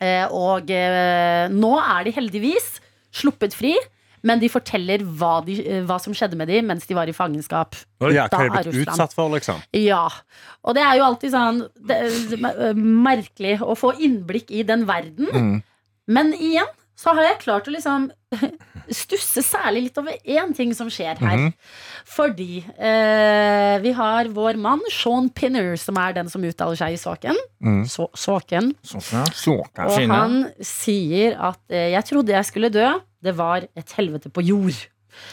B: Eh, og eh, nå er de heldigvis sluppet fri, men de forteller hva, de, eh, hva som skjedde med dem mens de var i fangenskap.
D: Ja,
B: Da
D: hva er
B: er
D: jeg blitt
B: Russland.
D: utsatt for, liksom?
B: Ja. Og det er jo alltid sånn det, er mer- merkelig å få innblikk i den verden.
D: Mm.
B: Men igjen så har jeg klart å liksom stusse særlig litt over én ting som skjer her.
D: Mhm.
B: Fordi eh, vi har vår mann Sean Pinner, som er den som uttaler seg i saken.
D: Mm.
B: Så, saken.
C: Sånn,
D: Så,
B: Og han sier at eh, 'jeg trodde jeg skulle dø, det var et helvete på jord'.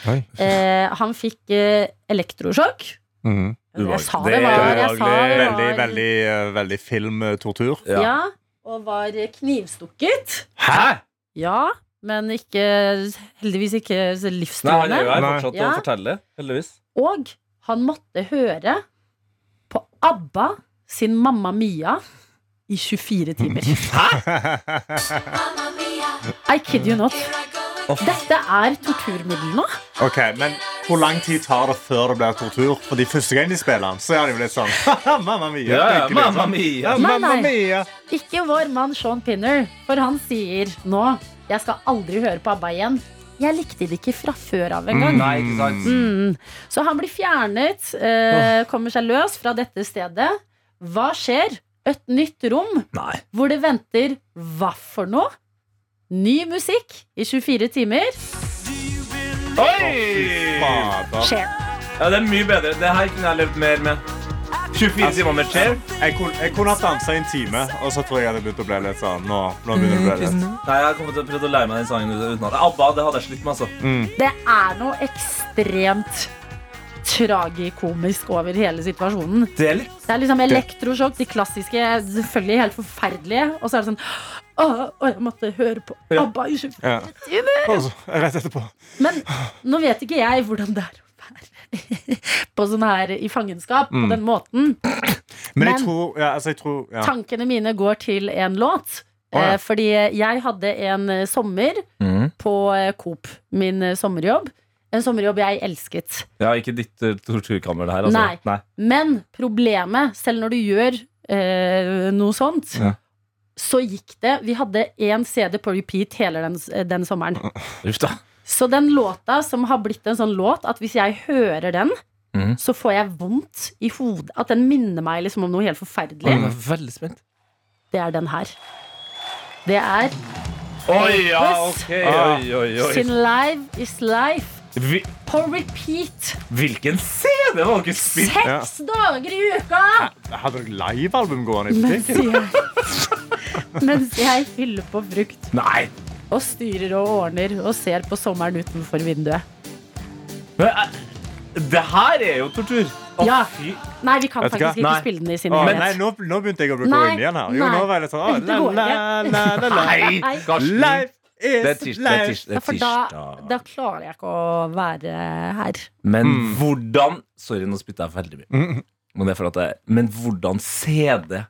D: Oi.
B: Eh, han fikk eh, elektrosjokk.
C: Mm-hmm.
D: Mm.
B: Jeg
C: Ubehagelig.
B: sa det var, jeg sa det var
D: Veldig, veldig, eh, veldig filmtortur.
B: ja. Og var knivstukket.
C: Hæ?!
B: Ja, men ikke heldigvis ikke så
C: Nei, han er
B: livstruende.
C: jo her
D: Nei.
C: fortsatt å
B: Ja.
C: fortelle, heldigvis.
B: Og han måtte høre på ABBA sin Mamma Mia i 24 timer. I kid you not. Dette er torturmiddel nå.
D: Ok, men Hvor lang tid tar det før det blir tortur? Fordi Første gang de spiller den, så er det jo litt sånn Mamma mia.
C: Ja, ja,
D: hyggelig,
C: mamma
D: sånn.
C: mia!
D: Ja,
B: Nei,
D: mamma
B: nei.
D: mia.
B: Ikke vår mann Sean Pinner, for han sier nå Jeg skal aldri høre på ABBA igjen. Jeg likte det ikke fra før av engang.
C: Nei, ikke sant?
B: Mm. Så han blir fjernet, eh, kommer seg løs fra dette stedet. Hva skjer? Et nytt rom
C: Nei.
B: hvor det venter hva for noe? Ny musikk i 24 timer.
C: Oi!
D: Fader.
B: Cher.
C: Ja, det er mye bedre. Det her kunne jeg levd mer med. 24 timer med Cher.
D: Jeg kunne, jeg kunne ha dansa i en time, og så tror jeg jeg hadde begynt å bli litt sånn Nå, nå begynner det å
B: Mm,
D: bli litt
C: Nei, jeg kommer til å prøve å lære meg den sangen utenat. ABBA, det hadde jeg slitt med, altså.
B: Det er noe ekstremt tragikomisk over hele situasjonen.
C: Det er litt
B: Det er liksom elektrosjokk, de klassiske, selvfølgelig helt forferdelige. Og så er det sånn Åh, åh, jeg måtte høre på ABBA i 24
D: ja. Og så, Rett etterpå.
B: Men nå vet ikke jeg hvordan det er å være på sånn her i fangenskap
D: Mm.
B: på den måten.
D: Men
B: Men-
D: jeg tror Ja. Altså, jeg tror, ja.
B: Tankene mine går til en låt.
D: Å, ja.
B: eh, Fordi jeg hadde en eh, sommer på eh, Coop, min eh, sommerjobb. En sommerjobb jeg elsket.
C: Ja, ikke ditt eh, torturkammer, det her, altså.
B: Nei. Men problemet, selv når du gjør eh, noe sånt,
D: Ja.
B: så gikk det Vi hadde én CD på repeat hele den, den sommeren.
C: Uff da.
B: Så den låta som har blitt en sånn låt at hvis jeg hører den,
C: Mhm.
B: så får jeg vondt i hodet. At den minner meg liksom om noe helt forferdelig.
C: Jeg er veldig spent.
B: Det er den her. Det er
C: Oi, ja,
B: Elvis
C: ok. Oi, oi,
B: sin
C: oi.
B: Live is Life
C: Vi-
B: på repeat
C: Hvilken CD var dere spilt?
B: seks dager i uka!
D: Hadde dere livealbum gående i
B: Mens
D: butikken?
B: jeg, mens jeg fyller på frukt
C: Nei.
B: og styrer og ordner og ser på sommeren utenfor vinduet.
C: Men, eh, Det her er jo tortur. Å,
B: Ja.
C: fy.
B: Nei, vi kan
D: Vet du
B: faktisk
D: hva?
B: ikke
D: Nei.
B: spille den i sin
D: Å,
B: helhet.
D: nei, nå, nå begynte jeg å gå
B: Nei,
D: inn igjen her. Jo,
B: nei.
D: nå var jeg litt sånn ah,
B: Det
D: la,
B: går
D: la, la, la, la.
C: Nei,
B: Nei.
C: Karsten.
D: Life
C: Det er
D: is
C: tirsdag. det er tirsdag,
D: life.
B: Ja,
C: det er
B: for da,
C: tirsdag.
B: da klarer jeg ikke å være her.
C: Men
D: Hmm.
C: hvordan Sorry, nå spytter jeg veldig mye.
D: Mm.
C: Men, det er for at jeg, men hvordan CD er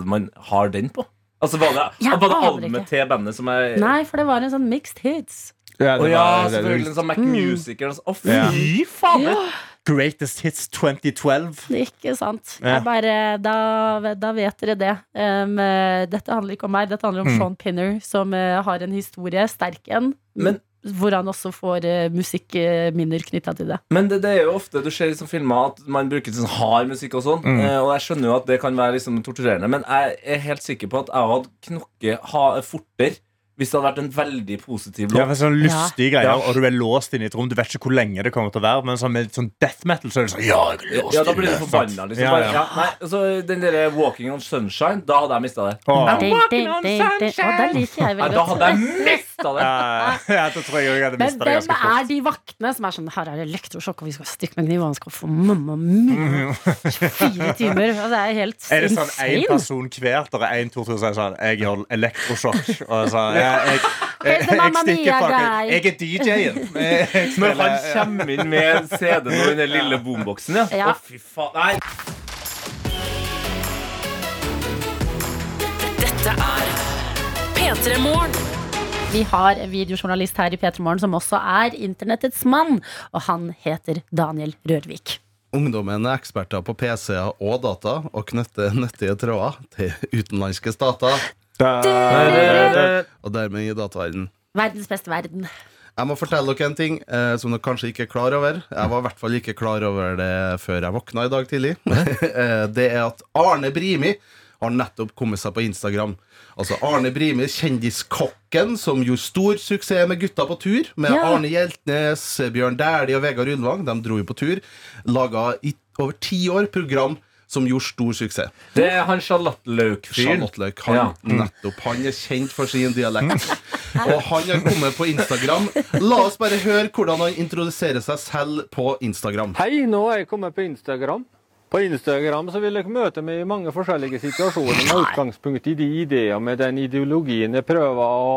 C: det man har den på? Altså, Var det,
B: Jeg
C: var det
B: aner
C: albumet
B: ikke.
C: til bandet som er
B: Nei, for det var en sånn mixed hits.
D: Ja,
C: Å
D: det
C: ja,
D: var- eh, det- det-
C: selvfølgelig. en Sånn Mac
B: Mm.
C: Music eller noe sånt. Å,
D: Ja.
C: fy faen!
B: Ja,
D: Greatest hits 2012.
B: ikke sant.
D: Ja.
B: Jeg bare, da, da vet dere det. Um, eh, dette handler ikke om meg, dette handler om
D: Mm.
B: Sean Pinner, som eh, har en historie, sterk en,
C: Men-
B: hvor han også får eh, musikkminner knytta til det.
C: Men det, det er jo ofte du ser liksom filmer at man bruker sånn hard musikk og sånn.
D: Mm.
C: eh, Og jeg skjønner jo at det kan være liksom torturerende, men jeg er helt sikker på at jeg hadde knokket ha, fortere hvis det hadde vært en veldig positiv
D: Ja,
C: låt.
D: for sånn lystige
C: Ja.
D: greier, og du er låst inne i et rom. Du vet ikke hvor lenge det kommer til å være, men sånn, med sånn death metal så er det sånn Ja, jeg er låst
C: Ja, da blir
D: inne,
C: du
D: sant?
C: forbanna, liksom.
D: Ja,
C: Bare,
D: ja.
C: ja, nei, så den derre Walking on Sunshine, da hadde jeg mista det.
D: Åh.
B: Ding, ding, ding, ding. Å, den liker jeg
C: Nei,
B: veldig
C: da
B: godt.
C: hadde jeg mista det.
D: Ja, ja, da tror jeg også jeg hadde
B: Men
D: mistet det
B: hvem
D: ganske fort.
B: er de vaktene som er sånn Her er det elektrosjokk, og vi skal stikke med kniv, og han skal få mamma mia! Fire timer. Altså, det er helt
D: Er det sånn
B: insane.
D: én person hvert og én, to, tre sier sånn Jeg har elektrosjokk. Og så, jeg, jeg, jeg,
B: Heter Mamma
D: stikker
B: Mia
D: fucking-
B: deg?
D: Jeg er DJ-en. Jeg- jeg
C: Men han
D: spiller-
C: kommer inn med en CD nå i den lille boomboksen, ja.
B: Ja.
C: Å, fy faen. Nei.
A: Dette er P3 Morgen.
B: Vi har en videojournalist her i P3 Morgen som også er internettets mann, og han heter Daniel Rørvik.
N: Ungdommen er eksperter på PC-er og data og knytter nyttige tråder til utenlandske stater, og dermed i dataverdenen.
B: Verdens beste verden.
N: Jeg må fortelle dere en ting eh, som dere kanskje ikke er klar over. Jeg var i hvert fall ikke klar over det før jeg våkna i dag tidlig. Eh, det er at Arne Brimi har nettopp kommet seg på Instagram. Altså Arne Brimi, kjendiskokken som gjorde stor suksess med Gutta på tur. Med
B: Ja.
N: Arne Hjeltnes, Bjørn Dæhlie og Vegard Ulvang. De dro jo på tur. Laga i over ti år program som gjorde stor suksess.
C: Det er han sjalottløk-fyren.
N: Charlotte Løk, han,
C: Ja.
N: nettopp, han er kjent for sin dialekt. Og han har kommet på Instagram. La oss bare høre hvordan han introduserer seg selv på Instagram.
O: Hei, nå er jeg kommet på Instagram. På Instagram så vil dere møte meg i mange forskjellige situasjoner med utgangspunkt i de ideene med den ideologien jeg prøver å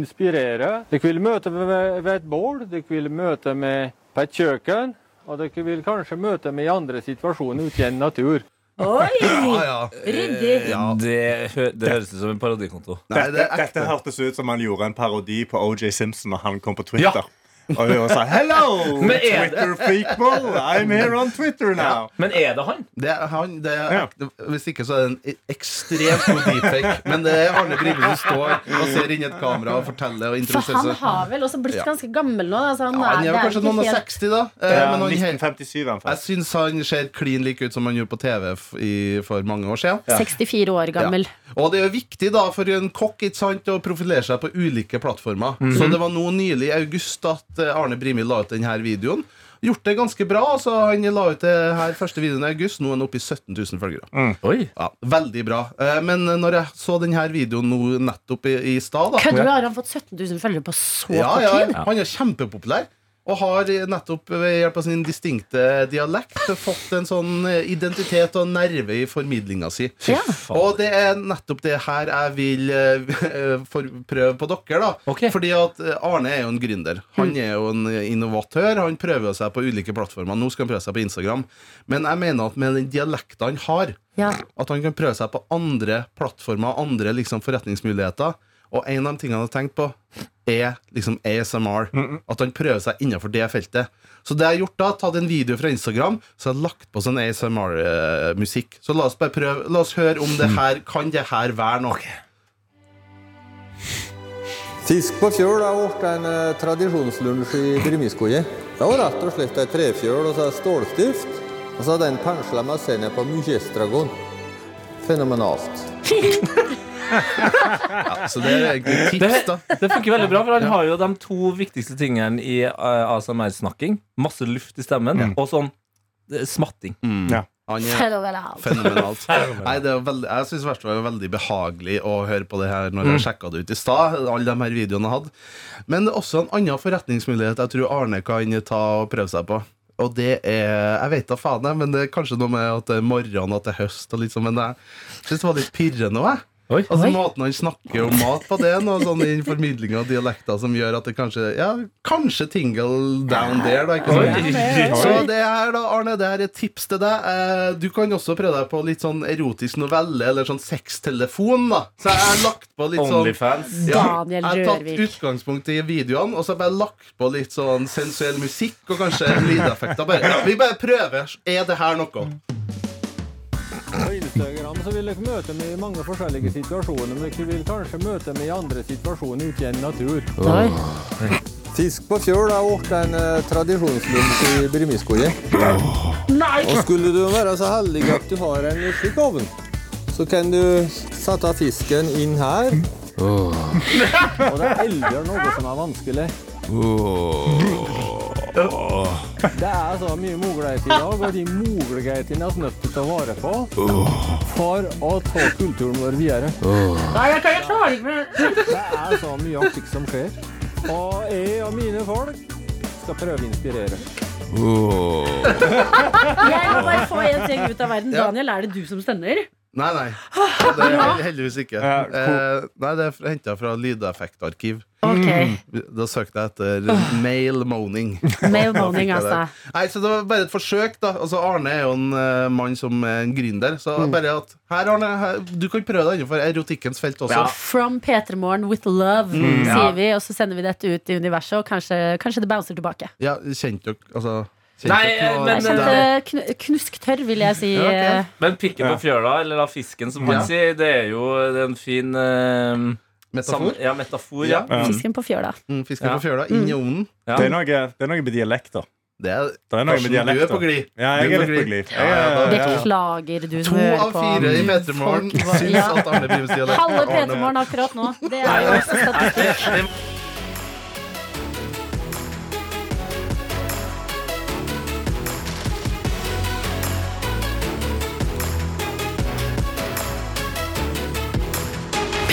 O: inspirere. Dere vil møte meg ved- ved et bål, dere vil møte meg på et kjøkken, og dere vil kanskje møte meg i andre situasjoner ute i en natur.
N: Ja,
B: Oi!
N: ja. Eh,
B: Ryddig.
N: Ja.
C: Det, hø det høres ut som en parodikonto.
N: Nei, det
D: Dette,
N: er
D: dette
N: ekte.
D: hørtes ut som han gjorde en parodi på OJ Simpson når han kom på Twitter. Og hun sa 'Hello,
C: Men er det-
D: Twitter people! I'm here on Twitter now'.
C: Men er det han?
N: Det er han, det er
D: Ja.
N: ekte. Hvis ikke så er det en e- ekstremt god deepfake. Men det er Arne Brimi som står og ser inn i et kamera og forteller og
B: For han
N: introduserer seg.
B: har vel også blitt
N: Ja.
B: ganske gammel nå. Altså, han,
N: Ja, han
B: er,
N: er
B: det
N: jo
B: er
N: kanskje
B: ikke
N: noen og
B: helt-
N: 60, da. Eh,
D: Ja,
N: Men han,
D: 1957, i hvert fall.
N: jeg syns han ser klin lik ut som han gjorde på TV f- i, for mange år siden.
B: 64 år gammel.
N: Og det er jo viktig da for en kokk ikke sant, å profilere seg på ulike plattformer. Så det var nå nylig i august at eh, Arne Brimi la ut denne videoen. Gjort det ganske bra. altså Han la ut det her første videoen i august. Nå er han oppe i 17 000 følgere.
C: Oi.
N: Ja, veldig bra. Eh, Men når jeg så denne videoen nå nettopp i, i stad da-
B: Kødder du? Har han fått 17 000 følgere på så
N: ja,
B: kort
N: ja,
B: tid?
N: Han er kjempepopulær. Og har nettopp eh, ved hjelp av sin distinkte dialekt fått en sånn identitet og nerve i formidlinga si.
B: Ja.
N: Og det er nettopp det her jeg vil eh, for, prøve på dere. da
C: Ok.
N: Fordi at eh, Arne er jo en gründer. Han er jo en innovatør. Han prøver seg på ulike plattformer. Nå skal han prøve seg på Instagram. Men jeg mener at med den dialekten han har,
B: Ja.
N: at han kan prøve seg på andre plattformer, andre liksom forretningsmuligheter. Og en av de tingene han har tenkt på, er liksom ASMR. At han prøver seg innenfor det feltet. Så det jeg har gjort da, tatt en video fra Instagram Så jeg har lagt på sånn ASMR-musikk. Så la oss bare prøve La oss høre om det her kan det her være noe.
P: Fisk på fjøl har blitt en eh, tradisjonslunsj i Brimiskogen. Det var rett og slett ei trefjøl og så ei stålstift. Og så hadde en pensla med sennep og mykjestragon. Fenomenalt.
N: Så det er egentlig et tips, da.
C: Det, det funker veldig bra, for han har jo de to viktigste tingene i eh, ASMR-snakking. Masse luft i stemmen, og sånn eh, smatting.
N: Ja. Han er
Q: Fenomenalt.
N: fenomenalt. Nei, det er veldig, jeg syns det var veldig behagelig å høre på det her når jeg sjekka det ut i stad. Alle de her videoene jeg hadde. Men det er også en annen forretningsmulighet jeg tror Arne kan ta og prøve seg på. Og det er Jeg vet da faen, jeg, men det er kanskje noe med at det er morgen og at det er høst. Og litt sånn, men jeg syns det var litt pirrende òg, jeg. altså
R: oi.
N: Måten han snakker om mat på, det er noe sånn innen formidling av dialekter som gjør at det kanskje Ja, kanskje tingle down there, da. Ikke sant?
R: Oi.
N: Så det her da, Arne, det her er et tips til deg. Eh, Du kan også prøve deg på litt sånn erotisk novelle eller sånn sextelefon. da Så jeg har lagt på litt sånn
C: Onlyfans.
N: jeg
C: Daniel
N: har tatt
C: Rørvik.
N: utgangspunkt i videoene, og så har jeg bare lagt på litt sånn sensuell musikk og kanskje lydeffekter. Bare. Ja, vi bare prøver. Er det her noe?
O: På Instagram så vil dere møte meg i mange forskjellige situasjoner, men dere vil kanskje møte meg i andre situasjoner ute i en natur.
P: Fisk på fjøl har blitt en eh, tradisjonslunsj i Brimiskogen.
G: Nei!
P: Og skulle du være så heldig at du har en slik ovn, så kan du sette fisken inn her.
O: Og det er aldri noe som er vanskelig. Det er så mye muligheter i dag, og de mulighetene er vi nødt til å ta vare på for å ta kulturen vår videre.
G: Nei, jeg, kan- jeg klarer ikke mer.
O: Det er så mye artig som skjer. Og jeg og mine folk skal prøve å inspirere.
Q: Jeg må bare få en ting ut av verden. Daniel, er det du som stemmer?
N: Nei, nei. Det er hel- heldigvis ikke. Eh, nei, det er henta fra lydeffektarkiv.
Q: Ok.
N: Da søkte jeg etter male moaning.
Q: Male
N: Da
Q: moaning,
N: fikk jeg det.
Q: altså.
N: Nei, så Det var bare et forsøk. da altså, Arne er jo en eh, mann som er en gründer. Så bare at Her, Arne, her, du kan prøve deg innenfor erotikkens felt også.
B: From P3morgen with love,
N: Mm, ja.
B: sier vi. Og så sender vi dette ut i universet, og kanskje, kanskje det bouncer tilbake.
N: Ja, kjente dere altså, kjente
C: Nei,
N: dere noe-
C: men-
B: Jeg kjente kn eh, knusktørr, vil jeg si. eh,
C: Men pikken på fjøla, eller da fisken, som han
B: Ja.
C: sier, det er jo det er en fin eh,
N: Metafor?
C: sam- ja, metafor. Ja.
D: Ja.
B: Fisken på fjøla.
N: Mm, fisken
D: Ja.
N: på fjøla, inn i ovnen.
D: Det, er noe, det er noe med dialekter.
N: Det er,
D: det er noe med
N: Karsten, du er
D: dialekter.
N: på glid.
D: Ja,
N: Du
D: jeg
N: er
D: er
N: på
D: litt på
N: glid.
D: glid. Jeg er- ja, ja.
B: Beklager, du som
N: To
B: hører
N: av
B: på.
N: fire i P3morgen
B: Folk var-
N: syns
B: Ja.
N: at Arne Brimes dialekt
B: Halve
N: Arne-
B: P3morgen akkurat nå. Det er jo også statistikk.
A: P3 Morgen.